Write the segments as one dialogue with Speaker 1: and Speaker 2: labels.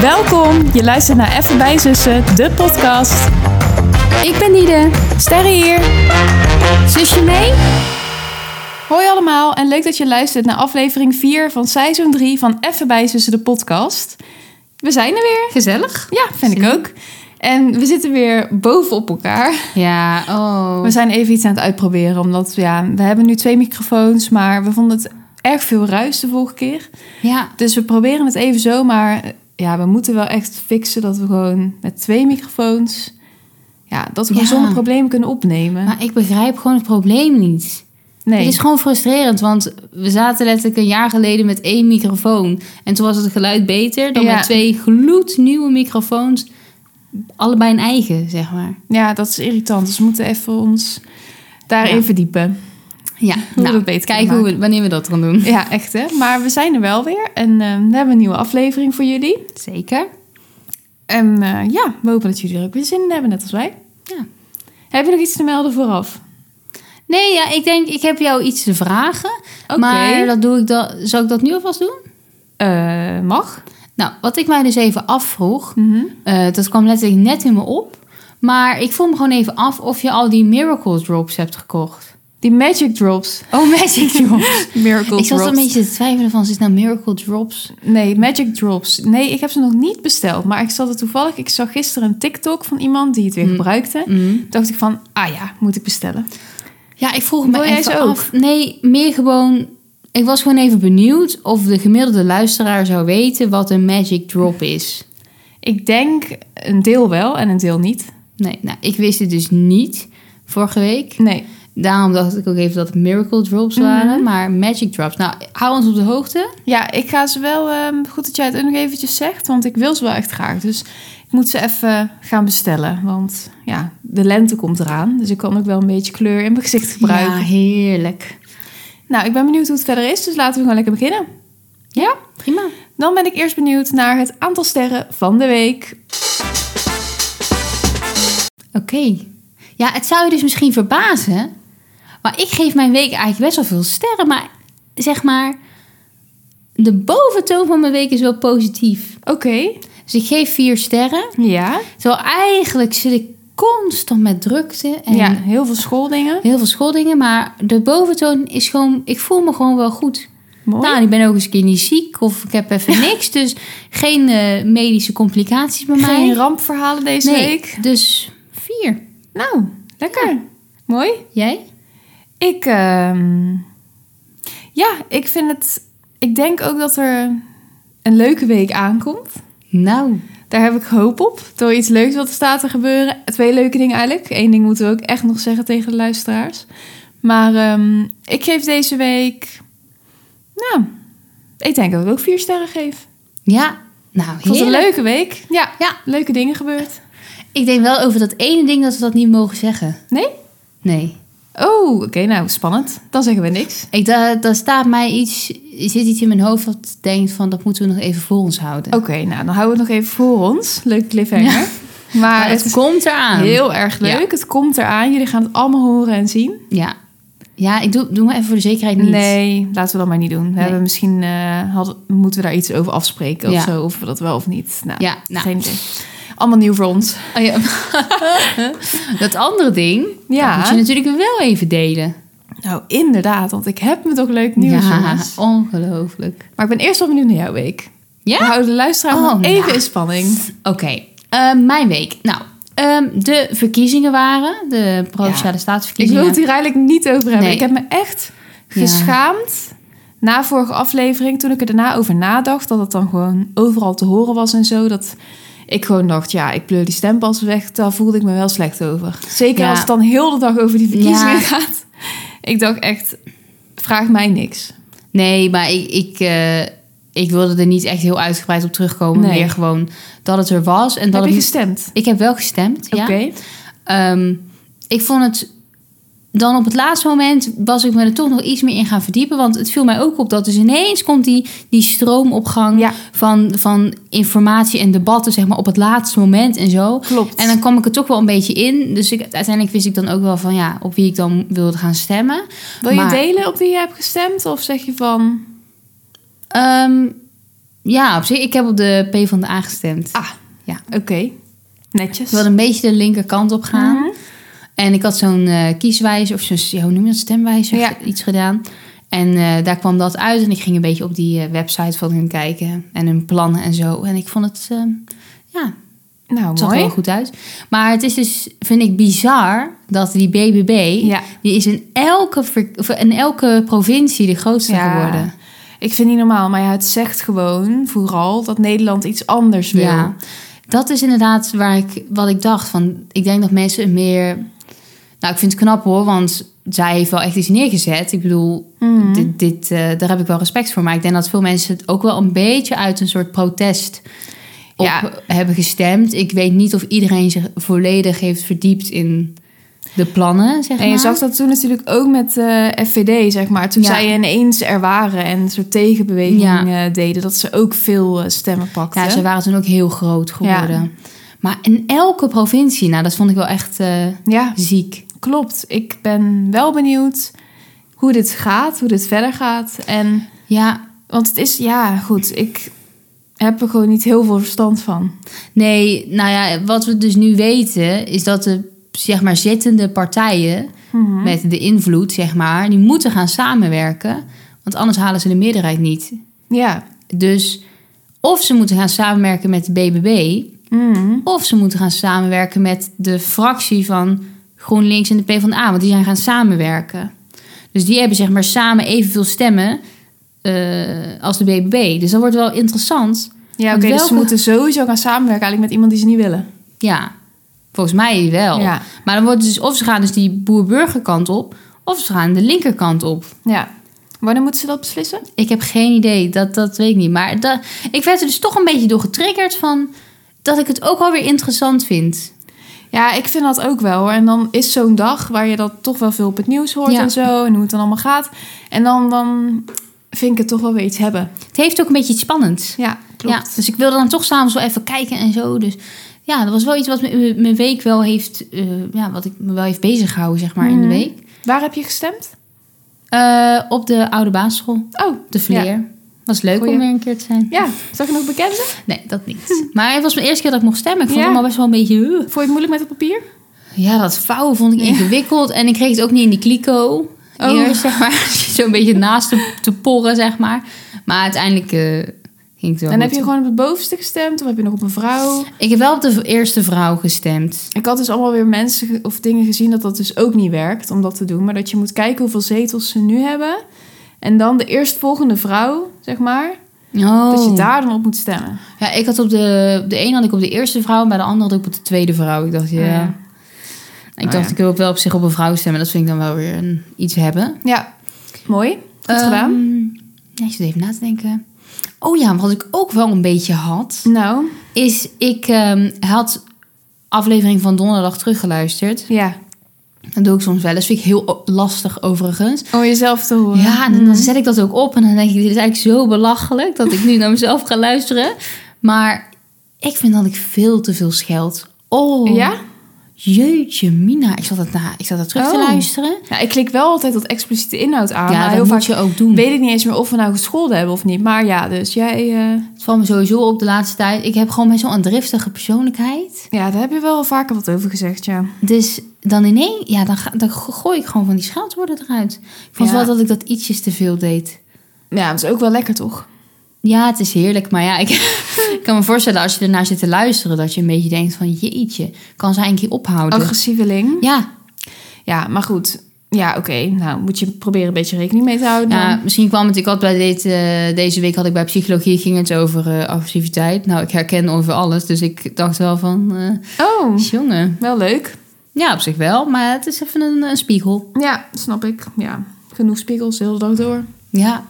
Speaker 1: Welkom, je luistert naar Even bij Zussen, de podcast.
Speaker 2: Ik ben Nide.
Speaker 1: Sterre hier.
Speaker 2: Zusje mee?
Speaker 1: Hoi allemaal en leuk dat je luistert naar aflevering 4 van seizoen 3 van Even bij Zussen, de podcast. We zijn er weer.
Speaker 2: Gezellig.
Speaker 1: Ja, vind ik ook. En we zitten weer bovenop elkaar.
Speaker 2: Ja, oh.
Speaker 1: We zijn even iets aan het uitproberen, omdat ja, we hebben nu twee microfoons, maar we vonden het erg veel ruis de vorige keer.
Speaker 2: Ja,
Speaker 1: Dus we proberen het even zo, maar eh, ja, we moeten wel echt fixen dat we gewoon met twee microfoons, ja, dat we gewoon
Speaker 2: Ja.
Speaker 1: zonder problemen kunnen opnemen.
Speaker 2: maar ik begrijp gewoon het probleem niet.
Speaker 1: nee,
Speaker 2: Het is gewoon frustrerend, want we zaten letterlijk een jaar geleden met één microfoon. En toen was het geluid beter dan
Speaker 1: Ja.
Speaker 2: met twee gloednieuwe microfoons. Allebei een eigen, zeg maar.
Speaker 1: ja, dat is irritant. Dus we moeten even ons daarin
Speaker 2: Ja.
Speaker 1: verdiepen.
Speaker 2: Ja,
Speaker 1: we
Speaker 2: nou,
Speaker 1: dat beter
Speaker 2: kijk
Speaker 1: kunnen
Speaker 2: hoe we, wanneer we dat gaan doen.
Speaker 1: Ja, echt hè. Maar we zijn er wel weer en eh, we hebben een nieuwe aflevering voor jullie.
Speaker 2: Zeker.
Speaker 1: En eh, ja, we hopen dat jullie er ook weer zin in hebben, net als wij.
Speaker 2: Ja.
Speaker 1: Heb je nog iets te melden vooraf?
Speaker 2: Nee, ja, ik denk, ik heb jou iets te vragen.
Speaker 1: Oké.
Speaker 2: Maar dat doe ik dan. zal ik dat nu alvast doen?
Speaker 1: Eh, mag. Mhm.
Speaker 2: Nou, wat ik mij dus even afvroeg, Eh, dat kwam letterlijk net in me op. Maar ik vroeg me gewoon even af of je al die Miracle Drops hebt gekocht.
Speaker 1: Die magic drops.
Speaker 2: Oh, Magic Drops.
Speaker 1: Miracle
Speaker 2: ik zat
Speaker 1: drops.
Speaker 2: een beetje te twijfelen van, is het nou Miracle Drops?
Speaker 1: Nee, Magic Drops. Nee, ik heb ze nog niet besteld. Maar ik zat er toevallig... Ik zag gisteren een TikTok van iemand die het weer gebruikte.
Speaker 2: Mm.
Speaker 1: Dacht ik van, ah ja, moet ik bestellen.
Speaker 2: Ja, ik vroeg me
Speaker 1: Wil jij
Speaker 2: even
Speaker 1: ze ook?
Speaker 2: af. Nee, meer gewoon... Ik was gewoon even benieuwd of de gemiddelde luisteraar zou weten wat een Magic Drop is.
Speaker 1: Ik denk een deel wel en een deel niet.
Speaker 2: Nee, nou, ik wist het dus niet vorige week.
Speaker 1: Nee.
Speaker 2: Daarom dacht ik ook even dat het Miracle Drops waren, maar Magic Drops. Nou, hou ons op de hoogte.
Speaker 1: Ja, ik ga ze wel... ehm, goed dat jij het ook nog eventjes zegt. Want ik wil ze wel echt graag. Dus ik moet ze even gaan bestellen. Want ja, de lente komt eraan. Dus ik kan ook wel een beetje kleur in mijn gezicht gebruiken.
Speaker 2: Ja, heerlijk.
Speaker 1: Nou, ik ben benieuwd hoe het verder is. Dus laten we gewoon lekker beginnen. Ja?
Speaker 2: Prima.
Speaker 1: Dan ben ik eerst benieuwd naar het aantal sterren van de week.
Speaker 2: Oké. Ja, het zou je dus misschien verbazen. Maar ik geef mijn week eigenlijk best wel veel sterren. Maar zeg maar, de boventoon van mijn week is wel positief.
Speaker 1: Oké.
Speaker 2: Dus ik geef vier sterren.
Speaker 1: Ja.
Speaker 2: Terwijl eigenlijk zit ik constant met drukte en
Speaker 1: ja, heel veel schooldingen.
Speaker 2: heel veel scholdingen. Maar de boventoon is gewoon, ik voel me gewoon wel goed.
Speaker 1: Mooi.
Speaker 2: Nou, en ik ben ook eens een keer niet ziek of ik heb even niks. Dus geen eh, medische complicaties bij mij.
Speaker 1: Geen rampverhalen deze
Speaker 2: nee,
Speaker 1: week.
Speaker 2: dus vier.
Speaker 1: Nou, lekker. Mooi.
Speaker 2: Jij?
Speaker 1: Ik, ehm, ja, ik vind het. Ik denk ook dat er een leuke week aankomt.
Speaker 2: Nou,
Speaker 1: Daar heb ik hoop op. Door iets leuks wat er staat te gebeuren. Twee leuke dingen eigenlijk. Eén ding moeten we ook echt nog zeggen tegen de luisteraars. Maar ehm, ik geef deze week. Nou, ik denk dat ik ook vier sterren geef.
Speaker 2: Ja, nou
Speaker 1: Ik vond het een
Speaker 2: heerlijk.
Speaker 1: leuke week. Ja,
Speaker 2: Ja.
Speaker 1: leuke dingen gebeurd.
Speaker 2: Ik denk wel over dat ene ding dat we dat niet mogen zeggen.
Speaker 1: Nee?
Speaker 2: Nee.
Speaker 1: Oh, oké, nou spannend. Dan zeggen we niks.
Speaker 2: Ik, da- daar staat mij iets, er zit iets in mijn hoofd dat denkt van dat moeten we nog even voor ons houden.
Speaker 1: Oké, nou dan houden we het nog even voor ons. Leuk cliffhanger. Maar,
Speaker 2: maar
Speaker 1: het
Speaker 2: Nou, het
Speaker 1: is
Speaker 2: komt eraan.
Speaker 1: heel erg leuk.
Speaker 2: Ja.
Speaker 1: Het komt eraan. Jullie gaan het allemaal horen en zien.
Speaker 2: Ja. Ja, ik doe, doe maar even voor de zekerheid niet.
Speaker 1: Nee, laten we dat maar niet doen. We
Speaker 2: Nee.
Speaker 1: hebben misschien eh, hadden- moeten we daar iets over afspreken of
Speaker 2: Ja.
Speaker 1: zo. Of we dat wel of niet. Nou,
Speaker 2: Ja, nou.
Speaker 1: geen idee. Allemaal nieuw voor ons.
Speaker 2: Oh, ja. dat andere ding, dat moet
Speaker 1: Ja,
Speaker 2: je natuurlijk wel even delen.
Speaker 1: nou inderdaad. Want ik heb me toch leuk nieuws,
Speaker 2: ja,
Speaker 1: jongens.
Speaker 2: ongelooflijk.
Speaker 1: Maar ik ben eerst wel benieuwd naar jouw week. We
Speaker 2: Ja?
Speaker 1: houden de luisteraar
Speaker 2: Oh,
Speaker 1: nog even
Speaker 2: nou.
Speaker 1: in spanning.
Speaker 2: Oké, eh, mijn week. Nou, ehm, de verkiezingen waren, de Provinciale
Speaker 1: Ik wil
Speaker 2: Staatsverkiezingen.
Speaker 1: het hier eigenlijk niet over hebben.
Speaker 2: Nee.
Speaker 1: Ik heb me echt
Speaker 2: Ja.
Speaker 1: geschaamd na vorige aflevering. Toen ik er daarna over nadacht. Dat het dan gewoon overal te horen was en zo. Dat ik gewoon dacht, ja, ik pleur die stempas weg. Daar voelde ik me wel slecht over. Zeker
Speaker 2: Ja.
Speaker 1: als het dan heel de dag over die verkiezingen
Speaker 2: Ja.
Speaker 1: gaat. Ik dacht echt, vraag mij niks.
Speaker 2: Nee, maar ik, ik, eh, ik wilde er niet echt heel uitgebreid op terugkomen.
Speaker 1: Nee.
Speaker 2: Meer gewoon dat het er was. En dat
Speaker 1: heb je
Speaker 2: het...
Speaker 1: gestemd?
Speaker 2: Ik heb wel gestemd, ja.
Speaker 1: Oké.
Speaker 2: Ehm, ik vond het... Dan op het laatste moment was ik me er toch nog iets meer in gaan verdiepen. Want het viel mij ook op dat dus ineens komt die, die stroomopgang
Speaker 1: Ja.
Speaker 2: van, van informatie en debatten zeg maar, op het laatste moment en zo.
Speaker 1: Klopt.
Speaker 2: En dan kwam ik er toch wel een beetje in. Dus ik, uiteindelijk wist ik dan ook wel van ja, op wie ik dan wilde gaan stemmen.
Speaker 1: Wil je
Speaker 2: maar-
Speaker 1: delen op wie je hebt gestemd? Of zeg je van...
Speaker 2: Ehm, Ja, op zich. Ik heb op de P van de A gestemd.
Speaker 1: Ah,
Speaker 2: Ja.
Speaker 1: oké. Netjes.
Speaker 2: Ik wilde een beetje de linkerkant op gaan.
Speaker 1: Mhm.
Speaker 2: En ik had zo'n eh kieswijzer, of zo'n, ja, hoe noem je dat, stemwijzer,
Speaker 1: Ja.
Speaker 2: iets gedaan. En eh, daar kwam dat uit en ik ging een beetje op die eh, website van hun kijken. En hun plannen en zo. En ik vond het, eh, ja,
Speaker 1: Nou,
Speaker 2: het zag er
Speaker 1: mooi.
Speaker 2: wel goed uit. Maar het is dus, vind ik, bizar dat die BBB...
Speaker 1: Ja.
Speaker 2: die is in elke, ver- of in elke provincie de grootste
Speaker 1: Ja.
Speaker 2: geworden.
Speaker 1: Ik vind niet normaal, maar ja, het zegt gewoon vooral dat Nederland iets anders wil.
Speaker 2: Ja. Dat is inderdaad waar ik, wat ik dacht. Van, ik denk dat mensen meer... Nou, ik vind het knap hoor, want zij heeft wel echt iets neergezet. Ik bedoel,
Speaker 1: Mhm.
Speaker 2: dit, dit, eh, daar heb ik wel respect voor. Maar ik denk dat veel mensen het ook wel een beetje uit een soort protest op
Speaker 1: Ja.
Speaker 2: hebben gestemd. Ik weet niet of iedereen zich volledig heeft verdiept in de plannen, zeg
Speaker 1: En je
Speaker 2: maar.
Speaker 1: zag dat toen natuurlijk ook met eh FVD, zeg maar. Toen
Speaker 2: Ja.
Speaker 1: zij ineens er waren en een soort tegenbeweging
Speaker 2: Ja.
Speaker 1: eh, deden, dat ze ook veel eh, stemmen pakten.
Speaker 2: Ja, ze waren toen ook heel groot geworden. Maar in elke provincie, nou, dat vond ik wel echt eh,
Speaker 1: Ja,
Speaker 2: ziek.
Speaker 1: klopt. Ik ben wel benieuwd hoe dit gaat, hoe dit verder gaat. En,
Speaker 2: Ja,
Speaker 1: want het is, ja, goed, ik heb er gewoon niet heel veel verstand van.
Speaker 2: Nee, nou ja, wat we dus nu weten is dat de zeg maar zittende partijen
Speaker 1: Hm? Hmm.
Speaker 2: met de invloed zeg maar, die moeten gaan samenwerken, want anders halen ze de meerderheid niet.
Speaker 1: Ja.
Speaker 2: Dus of ze moeten gaan samenwerken met de BBB,
Speaker 1: Mhm.
Speaker 2: of ze moeten gaan samenwerken met de fractie van GroenLinks en de PvdA, want die zijn gaan samenwerken. Dus die hebben zeg maar samen evenveel stemmen eh, als de BBB. Dus dat wordt wel interessant.
Speaker 1: Ja,
Speaker 2: Want
Speaker 1: oké, dus ze
Speaker 2: welke-
Speaker 1: moeten sowieso gaan samenwerken eigenlijk met iemand die ze niet willen.
Speaker 2: Ja, volgens mij wel.
Speaker 1: Ja.
Speaker 2: Maar dan wordt het dus of ze gaan dus die boer-burgerkant op, of ze gaan de linkerkant op.
Speaker 1: Ja. Wanneer moeten ze dat beslissen?
Speaker 2: Ik heb geen idee, dat, dat weet ik niet. Maar dat, ik werd er dus toch een beetje door getriggerd van dat ik het ook wel weer interessant vind.
Speaker 1: Ja, ik vind dat ook wel. hoor. En dan is zo'n dag waar je dat toch wel veel op het nieuws hoort
Speaker 2: Ja.
Speaker 1: en zo. En hoe het dan allemaal gaat. En dan, dan vind ik het toch wel weer iets hebben.
Speaker 2: Het heeft ook een beetje iets spannends.
Speaker 1: Ja, klopt.
Speaker 2: Ja, dus ik wilde dan toch s'avonds wel even kijken en zo. Dus ja, dat was wel iets wat me- mijn week wel heeft, eh, ja, wat ik me wel heeft bezig gehouden, zeg maar, in
Speaker 1: Mhm.
Speaker 2: de week.
Speaker 1: Waar heb je gestemd?
Speaker 2: Eh, op de oude basisschool,
Speaker 1: Oh,
Speaker 2: de Vleer. Was leuk
Speaker 1: Goeie.
Speaker 2: om weer een keer te zijn.
Speaker 1: ja. Zag je nog bekenden?
Speaker 2: Nee, dat niet. Maar het was mijn eerste keer dat ik mocht stemmen. Ik vond
Speaker 1: Ja.
Speaker 2: het allemaal best wel een beetje... uh.
Speaker 1: Vond je het moeilijk met het papier?
Speaker 2: Ja, dat vouwen vond ik ingewikkeld. En ik kreeg het ook niet in die kliko.
Speaker 1: Oh.
Speaker 2: Eerst, zeg maar. Zo'n beetje naast te, te porren, zeg maar. Maar uiteindelijk eh, ging het wel
Speaker 1: en heb
Speaker 2: goed.
Speaker 1: je gewoon op het bovenste gestemd? Of heb je nog op een vrouw?
Speaker 2: Ik heb wel op de eerste vrouw gestemd.
Speaker 1: Ik had dus allemaal weer mensen ge- of dingen gezien dat dat dus ook niet werkt om dat te doen. Maar dat je moet kijken hoeveel zetels ze nu hebben. En dan de eerstvolgende vrouw, zeg maar.
Speaker 2: Oh.
Speaker 1: Dat je daar dan op moet stemmen.
Speaker 2: Ja, ik had op de... op De een had ik op de eerste vrouw. En bij de andere had ik op de tweede vrouw. Ik dacht, ja...
Speaker 1: Oh, ja.
Speaker 2: Ik
Speaker 1: Oh,
Speaker 2: dacht,
Speaker 1: ja.
Speaker 2: ik wil ook wel op zich op een vrouw stemmen. Dat vind ik dan wel weer een, iets hebben.
Speaker 1: Ja, mooi. Goed gedaan.
Speaker 2: Ehm, ja, ik zit even na te denken. Oh ja, wat ik ook wel een beetje had...
Speaker 1: Nou,
Speaker 2: is ik ehm, had aflevering van donderdag teruggeluisterd.
Speaker 1: ja.
Speaker 2: Dat doe ik soms wel eens. Vind ik heel o- lastig overigens.
Speaker 1: Om jezelf te horen.
Speaker 2: Ja, en dan, dan zet ik dat ook op en dan denk ik, dit is eigenlijk zo belachelijk dat ik nu naar mezelf ga luisteren. Maar ik vind dat ik veel te veel scheld. Oh,
Speaker 1: Ja?
Speaker 2: jeetje mina. Ik zat dat, na, ik zat dat terug te
Speaker 1: Oh.
Speaker 2: luisteren.
Speaker 1: Ja, ik klik wel altijd dat expliciete inhoud aan. maar
Speaker 2: ja,
Speaker 1: heel
Speaker 2: dat
Speaker 1: vaak
Speaker 2: moet je ook doen.
Speaker 1: weet ik niet eens meer of we nou gescholden hebben of niet. Maar ja, dus jij... eh,
Speaker 2: Het valt me sowieso op de laatste tijd. Ik heb gewoon best wel een driftige persoonlijkheid.
Speaker 1: ja, daar heb je wel vaker wat over gezegd, ja.
Speaker 2: Dus dan in één, ja, dan, ga- dan gooi ik gewoon van die scheldwoorden eruit. Ik vond
Speaker 1: Ja.
Speaker 2: wel dat ik dat ietsjes te veel deed.
Speaker 1: Ja, dat is ook wel lekker, toch?
Speaker 2: Ja, het is heerlijk, maar ja, ik, ik kan me voorstellen als je ernaar zit te luisteren, dat je een beetje denkt van jeetje, kan ze eigenlijk ophouden?
Speaker 1: Agressieveling.
Speaker 2: ja,
Speaker 1: Ja, maar goed. Ja, oké. Nou, moet je proberen een beetje rekening mee te houden.
Speaker 2: ja,
Speaker 1: oh dan.
Speaker 2: misschien kwam het, ik had bij dit, eh, deze week had ik bij psychologie, ging het over eh, agressiviteit. Nou, ik herken over alles, dus ik dacht wel van, eh
Speaker 1: Oh,
Speaker 2: jongen,
Speaker 1: wel leuk.
Speaker 2: ja, op zich wel, maar het is even een, een spiegel.
Speaker 1: Ja, snap ik. Ja, genoeg spiegels de hele dag door.
Speaker 2: Ja,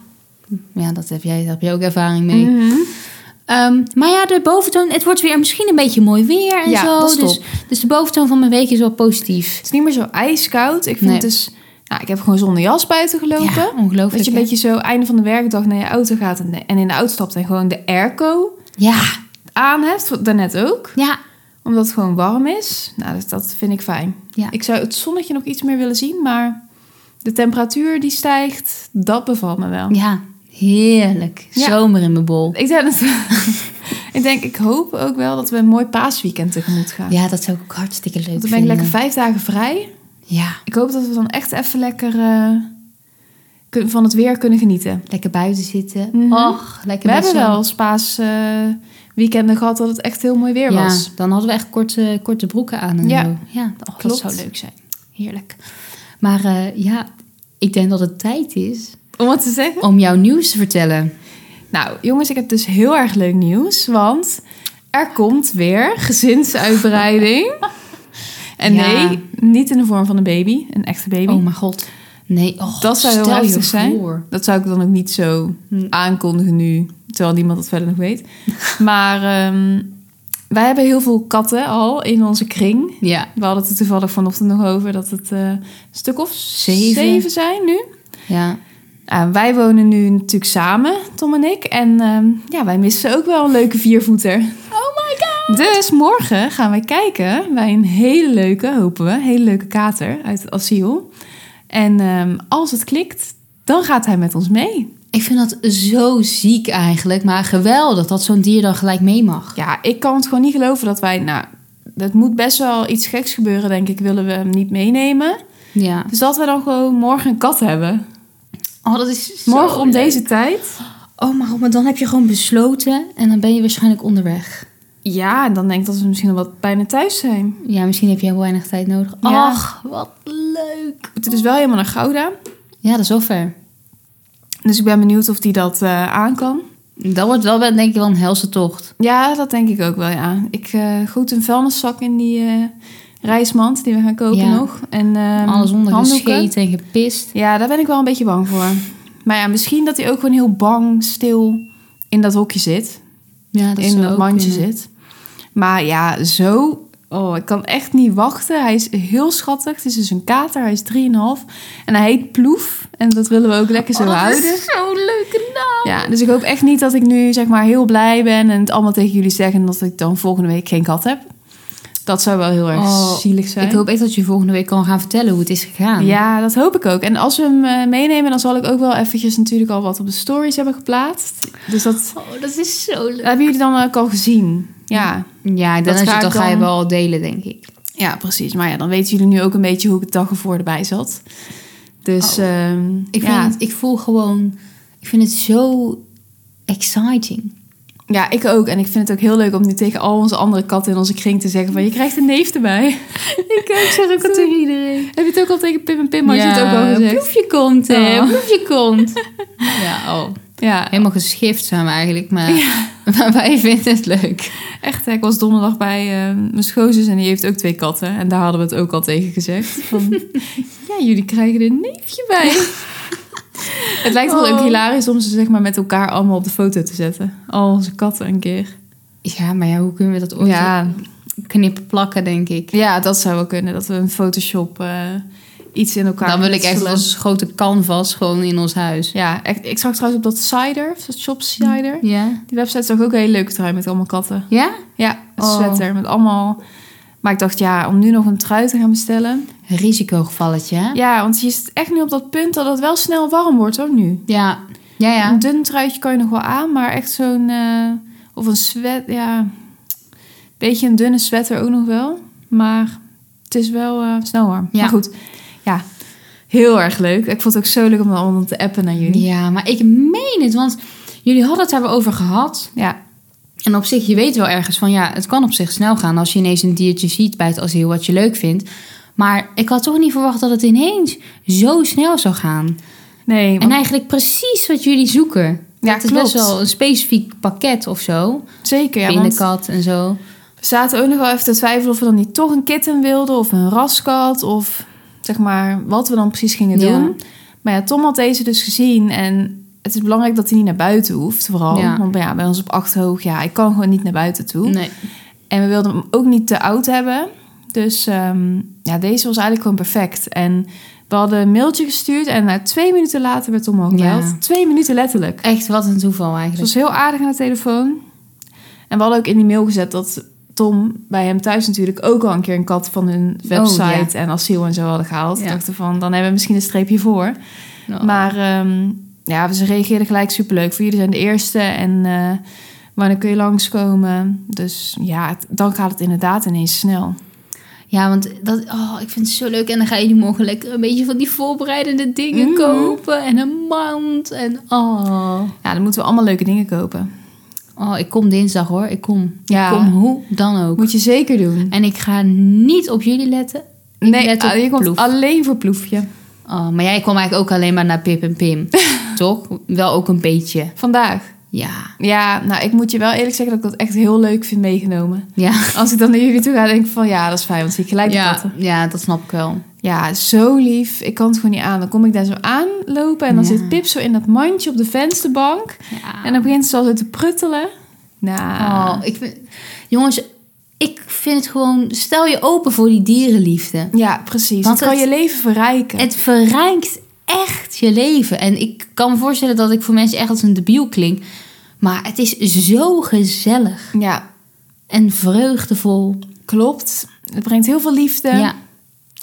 Speaker 2: ja dat heb jij, daar heb jij ook ervaring mee.
Speaker 1: Mhm.
Speaker 2: Ehm, maar ja, de boventoon, het wordt weer misschien een beetje mooi weer en
Speaker 1: Ja,
Speaker 2: zo.
Speaker 1: dat is
Speaker 2: dus,
Speaker 1: top.
Speaker 2: dus de boventoon van mijn week is wel positief.
Speaker 1: Het is niet meer zo ijskoud. Ik vind
Speaker 2: Nee.
Speaker 1: het dus... Nou, ik heb gewoon zonder jas buiten gelopen.
Speaker 2: Ja, ongelooflijk.
Speaker 1: Dat je een
Speaker 2: hè?
Speaker 1: beetje zo einde van de werkdag naar je auto gaat en, en in de auto stapt en gewoon de airco
Speaker 2: Ja,
Speaker 1: aan hebt, wat daarnet ook.
Speaker 2: ja,
Speaker 1: Omdat het gewoon warm is. Nou, dat, dat vind ik fijn.
Speaker 2: Ja.
Speaker 1: Ik zou het zonnetje nog iets meer willen zien, maar de temperatuur die stijgt, dat bevalt me wel.
Speaker 2: ja, Heerlijk.
Speaker 1: Ja.
Speaker 2: Zomer in mijn bol.
Speaker 1: Ik denk, dat, ik denk, ik hoop ook wel dat we een mooi paasweekend tegemoet gaan.
Speaker 2: Ja, dat zou ik eh, ook hartstikke leuk
Speaker 1: Want
Speaker 2: vinden.
Speaker 1: dan ben ik lekker vijf dagen vrij.
Speaker 2: Ja,
Speaker 1: Ik hoop dat we dan echt even lekker eh, kun- van het weer kunnen genieten.
Speaker 2: lekker buiten zitten.
Speaker 1: Mhm.
Speaker 2: Och, lekker
Speaker 1: We
Speaker 2: met
Speaker 1: hebben
Speaker 2: zon.
Speaker 1: wel eens paas eh, weekenden gehad dat het echt heel mooi weer
Speaker 2: ja,
Speaker 1: was.
Speaker 2: dan hadden we echt korte, korte broeken aan. En
Speaker 1: Ja,
Speaker 2: zo. ja och, dat
Speaker 1: klopt.
Speaker 2: zou leuk zijn. Heerlijk. Maar eh, ja, ik denk dat het tijd is
Speaker 1: Om wat te zeggen?
Speaker 2: om jouw nieuws te vertellen.
Speaker 1: Nou, jongens, ik heb dus heel erg leuk nieuws. Want er komt weer gezinsuitbreiding. en
Speaker 2: Ja.
Speaker 1: nee, niet in de vorm van een baby, een echte baby.
Speaker 2: Oh mijn god. Nee, och,
Speaker 1: dat zou heel
Speaker 2: stel je
Speaker 1: heftig zijn.
Speaker 2: voor.
Speaker 1: Dat zou ik dan ook niet zo
Speaker 2: Hm.
Speaker 1: aankondigen nu, terwijl niemand dat verder nog weet. maar ehm, wij hebben heel veel katten al in onze kring.
Speaker 2: Ja,
Speaker 1: We hadden het er toevallig vanochtend nog over dat het eh, een stuk of
Speaker 2: Zeven.
Speaker 1: zeven zijn nu.
Speaker 2: ja.
Speaker 1: Ja, wij wonen nu natuurlijk samen, Tom en ik. En ehm, ja, wij missen ook wel een leuke viervoeter.
Speaker 2: Oh my god.
Speaker 1: Dus morgen gaan wij kijken bij een hele leuke, hopen we, hele leuke kater uit het asiel. En ehm, als het klikt, dan gaat hij met ons mee.
Speaker 2: Ik vind dat zo ziek eigenlijk, maar geweldig dat zo'n dier dan gelijk mee mag.
Speaker 1: Ja, ik kan het gewoon niet geloven dat wij, nou, dat moet best wel iets geks gebeuren, denk ik, willen we hem niet meenemen.
Speaker 2: Ja.
Speaker 1: Dus dat we dan gewoon morgen een kat hebben.
Speaker 2: Oh, dat is zo
Speaker 1: Morgen om
Speaker 2: leuk.
Speaker 1: deze tijd.
Speaker 2: Oh, maar, maar dan heb je gewoon besloten en dan ben je waarschijnlijk onderweg.
Speaker 1: Ja, en dan denk ik dat we misschien al wat bijna thuis zijn.
Speaker 2: Ja, misschien heb je heel weinig tijd nodig.
Speaker 1: Ja.
Speaker 2: Ach, wat leuk.
Speaker 1: We moeten dus wel helemaal naar Gouda.
Speaker 2: Ja, dat is wel ver.
Speaker 1: Dus ik ben benieuwd of die dat eh, aan kan.
Speaker 2: Dat wordt wel, denk ik, wel een helse tocht.
Speaker 1: Ja, dat denk ik ook wel, ja. Ik eh goed een vuilniszak in die eh, reismand die we gaan kopen
Speaker 2: Ja.
Speaker 1: nog. En, ehm,
Speaker 2: Alles
Speaker 1: handdoeken.
Speaker 2: ondergescheten en gepist.
Speaker 1: Ja, daar ben ik wel een beetje bang voor. Maar ja, misschien dat hij ook gewoon heel bang, stil in dat hokje zit.
Speaker 2: Ja,
Speaker 1: in
Speaker 2: zou
Speaker 1: dat
Speaker 2: ook eh,
Speaker 1: mandje
Speaker 2: kunnen.
Speaker 1: zit. Maar ja, zo... Oh, ik kan echt niet wachten. Hij is heel schattig. Het is dus een kater. Hij is 3,5. En hij heet Ploef. En dat willen we ook lekker zo
Speaker 2: Oh, dat
Speaker 1: houden.
Speaker 2: is zo'n leuke naam.
Speaker 1: Ja, dus ik hoop echt niet dat ik nu zeg maar heel blij ben en het allemaal tegen jullie zeg en dat ik dan volgende week geen kat heb. Dat zou wel heel erg
Speaker 2: Oh,
Speaker 1: zielig zijn.
Speaker 2: Ik hoop echt dat je volgende week kan gaan vertellen hoe het is gegaan.
Speaker 1: Ja, dat hoop ik ook. En als we hem eh, meenemen, dan zal ik ook wel eventjes natuurlijk al wat op de stories hebben geplaatst. Dus dat
Speaker 2: Oh, dat is zo leuk.
Speaker 1: hebben jullie dan ook al gezien. Ja,
Speaker 2: Ja, dan,
Speaker 1: Dat
Speaker 2: is
Speaker 1: ga
Speaker 2: het, dan
Speaker 1: ik
Speaker 2: ga je
Speaker 1: dan-
Speaker 2: wel delen, denk ik.
Speaker 1: ja precies. Maar ja, dan weten jullie nu ook een beetje hoe ik het dag ervoor erbij zat. Dus ehm,
Speaker 2: Ik,
Speaker 1: ja.
Speaker 2: vind, ik voel gewoon... Ik vind het zo exciting.
Speaker 1: ja, ik ook. En ik vind het ook heel leuk om nu tegen al onze andere katten in onze kring te zeggen van je krijgt een neef erbij. ik, zeg ook al tegen
Speaker 2: iedereen.
Speaker 1: Heb je het ook al tegen Pim en Pim, maar je het ook al gezegd?
Speaker 2: Proefje komt, hè.
Speaker 1: Oh.
Speaker 2: Proefje komt. ja, oh.
Speaker 1: Ja,
Speaker 2: Helemaal geschift zijn we eigenlijk, maar, maar wij vinden het leuk.
Speaker 1: echt. hè. Ik was donderdag bij eh, mijn schoonzus en die heeft ook twee katten. En daar hadden we het ook al tegen gezegd. Van, ja, jullie krijgen er een neefje bij. het lijkt wel
Speaker 2: Oh.
Speaker 1: ook hilarisch om ze zeg maar, met elkaar allemaal op de foto te zetten. Al onze katten een keer.
Speaker 2: Ja, maar ja, hoe kunnen we dat ooit
Speaker 1: Ja,
Speaker 2: knippen plakken, denk ik?
Speaker 1: ja, dat zou wel kunnen. Dat we een Photoshop eh, iets in elkaar
Speaker 2: Dan wil ik echt
Speaker 1: knutselen.
Speaker 2: als grote canvas gewoon in ons huis.
Speaker 1: Ja, echt, ik zag trouwens op dat Cider, dat shop Cider.
Speaker 2: Ja?
Speaker 1: Die website zag ook een hele leuke trui met allemaal katten.
Speaker 2: Ja?
Speaker 1: Ja, een
Speaker 2: Oh.
Speaker 1: sweater met allemaal... Maar ik dacht, ja, om nu nog een trui te gaan bestellen.
Speaker 2: Risicogevalletje, hè?
Speaker 1: Ja, want je zit echt nu op dat punt dat het wel snel warm wordt, hoor, nu.
Speaker 2: Ja. Ja,
Speaker 1: Een
Speaker 2: ja.
Speaker 1: dun truitje kan je nog wel aan, maar echt zo'n... eh, of een sweat, ja... Beetje een dunne sweater ook nog wel. Maar het is wel eh, snel warm.
Speaker 2: Ja.
Speaker 1: Maar goed, ja. Heel erg leuk. Ik vond het ook zo leuk om dan allemaal te appen naar jullie.
Speaker 2: Ja, maar ik meen het, want jullie hadden het daar wel over gehad.
Speaker 1: Ja,
Speaker 2: En op zich, je weet wel ergens van ja, het kan op zich snel gaan als je ineens een diertje ziet bij het asiel wat je leuk vindt. Maar ik had toch niet verwacht dat het ineens zo snel zou gaan.
Speaker 1: nee. want-
Speaker 2: En eigenlijk precies wat jullie zoeken.
Speaker 1: Ja,
Speaker 2: het is
Speaker 1: klopt.
Speaker 2: best wel een specifiek pakket of zo.
Speaker 1: zeker, ja. want-
Speaker 2: Binnenkat en zo.
Speaker 1: We zaten ook nog wel even te twijfelen of we dan niet toch een kitten wilden of een raskat of zeg maar wat we dan precies gingen
Speaker 2: Ja.
Speaker 1: doen. Maar ja, Tom had deze dus gezien en het is belangrijk dat hij niet naar buiten hoeft vooral.
Speaker 2: Ja.
Speaker 1: Want ja, bij ons op achterhoog, ja, ik kan gewoon niet naar buiten toe.
Speaker 2: Nee.
Speaker 1: En we wilden hem ook niet te oud hebben. Dus ehm, ja, deze was eigenlijk gewoon perfect. En we hadden een mailtje gestuurd en na twee minuten later werd Tom al gebeld.
Speaker 2: Ja.
Speaker 1: Twee minuten letterlijk.
Speaker 2: Echt wat een toeval
Speaker 1: Ze
Speaker 2: eigenlijk.
Speaker 1: was heel aardig aan de telefoon. En we hadden ook in die mail gezet dat Tom bij hem thuis natuurlijk ook al een keer een kat van hun website en asiel en zo hadden gehaald.
Speaker 2: Ja.
Speaker 1: Dachten van, dan hebben we misschien een streepje voor.
Speaker 2: Oh.
Speaker 1: Maar ehm, ja, ze reageerden gelijk superleuk. Voor jullie zijn de eerste en eh, wanneer kun je langskomen? Dus ja, het- dan gaat het inderdaad ineens snel.
Speaker 2: Ja, want dat, oh, ik vind het zo leuk. En dan ga je die morgen lekker een beetje van die voorbereidende dingen
Speaker 1: Mhm.
Speaker 2: kopen. En een mand. En oh.
Speaker 1: Ja, dan moeten we allemaal leuke dingen kopen.
Speaker 2: oh, ik kom dinsdag hoor. Ik kom.
Speaker 1: Ja.
Speaker 2: Ik kom hoe dan ook.
Speaker 1: Moet je zeker doen.
Speaker 2: En ik ga niet op jullie letten. Ik let op
Speaker 1: ah, je komt
Speaker 2: ploef.
Speaker 1: alleen voor ploefje.
Speaker 2: Oh, maar jij kwam eigenlijk ook alleen maar naar Pip en Pim. Toch? Wel ook een beetje.
Speaker 1: Vandaag.
Speaker 2: Ja.
Speaker 1: Ja, nou, ik moet je wel eerlijk zeggen dat ik dat echt heel leuk vind meegenomen.
Speaker 2: Ja.
Speaker 1: Als ik dan naar jullie toe ga, denk ik van ja, dat is fijn, want zie ik gelijk de
Speaker 2: Ja,
Speaker 1: katten.
Speaker 2: ja, dat snap ik wel.
Speaker 1: Ja, zo lief. Ik kan het gewoon niet aan. Dan kom ik daar zo aanlopen en dan
Speaker 2: Ja.
Speaker 1: zit Pip zo in dat mandje op de vensterbank.
Speaker 2: Ja.
Speaker 1: En dan begint ze al zo te pruttelen. Nou,
Speaker 2: Oh, ik vind, jongens, ik vind het gewoon... Stel je open voor die dierenliefde.
Speaker 1: ja, precies.
Speaker 2: Want
Speaker 1: het kan
Speaker 2: het-
Speaker 1: je leven verrijken.
Speaker 2: Het verrijkt echt je leven. En ik kan me voorstellen dat ik voor mensen echt als een debiel klink. Maar het is zo gezellig.
Speaker 1: Ja,
Speaker 2: En vreugdevol.
Speaker 1: klopt. Het brengt heel veel liefde.
Speaker 2: Ja.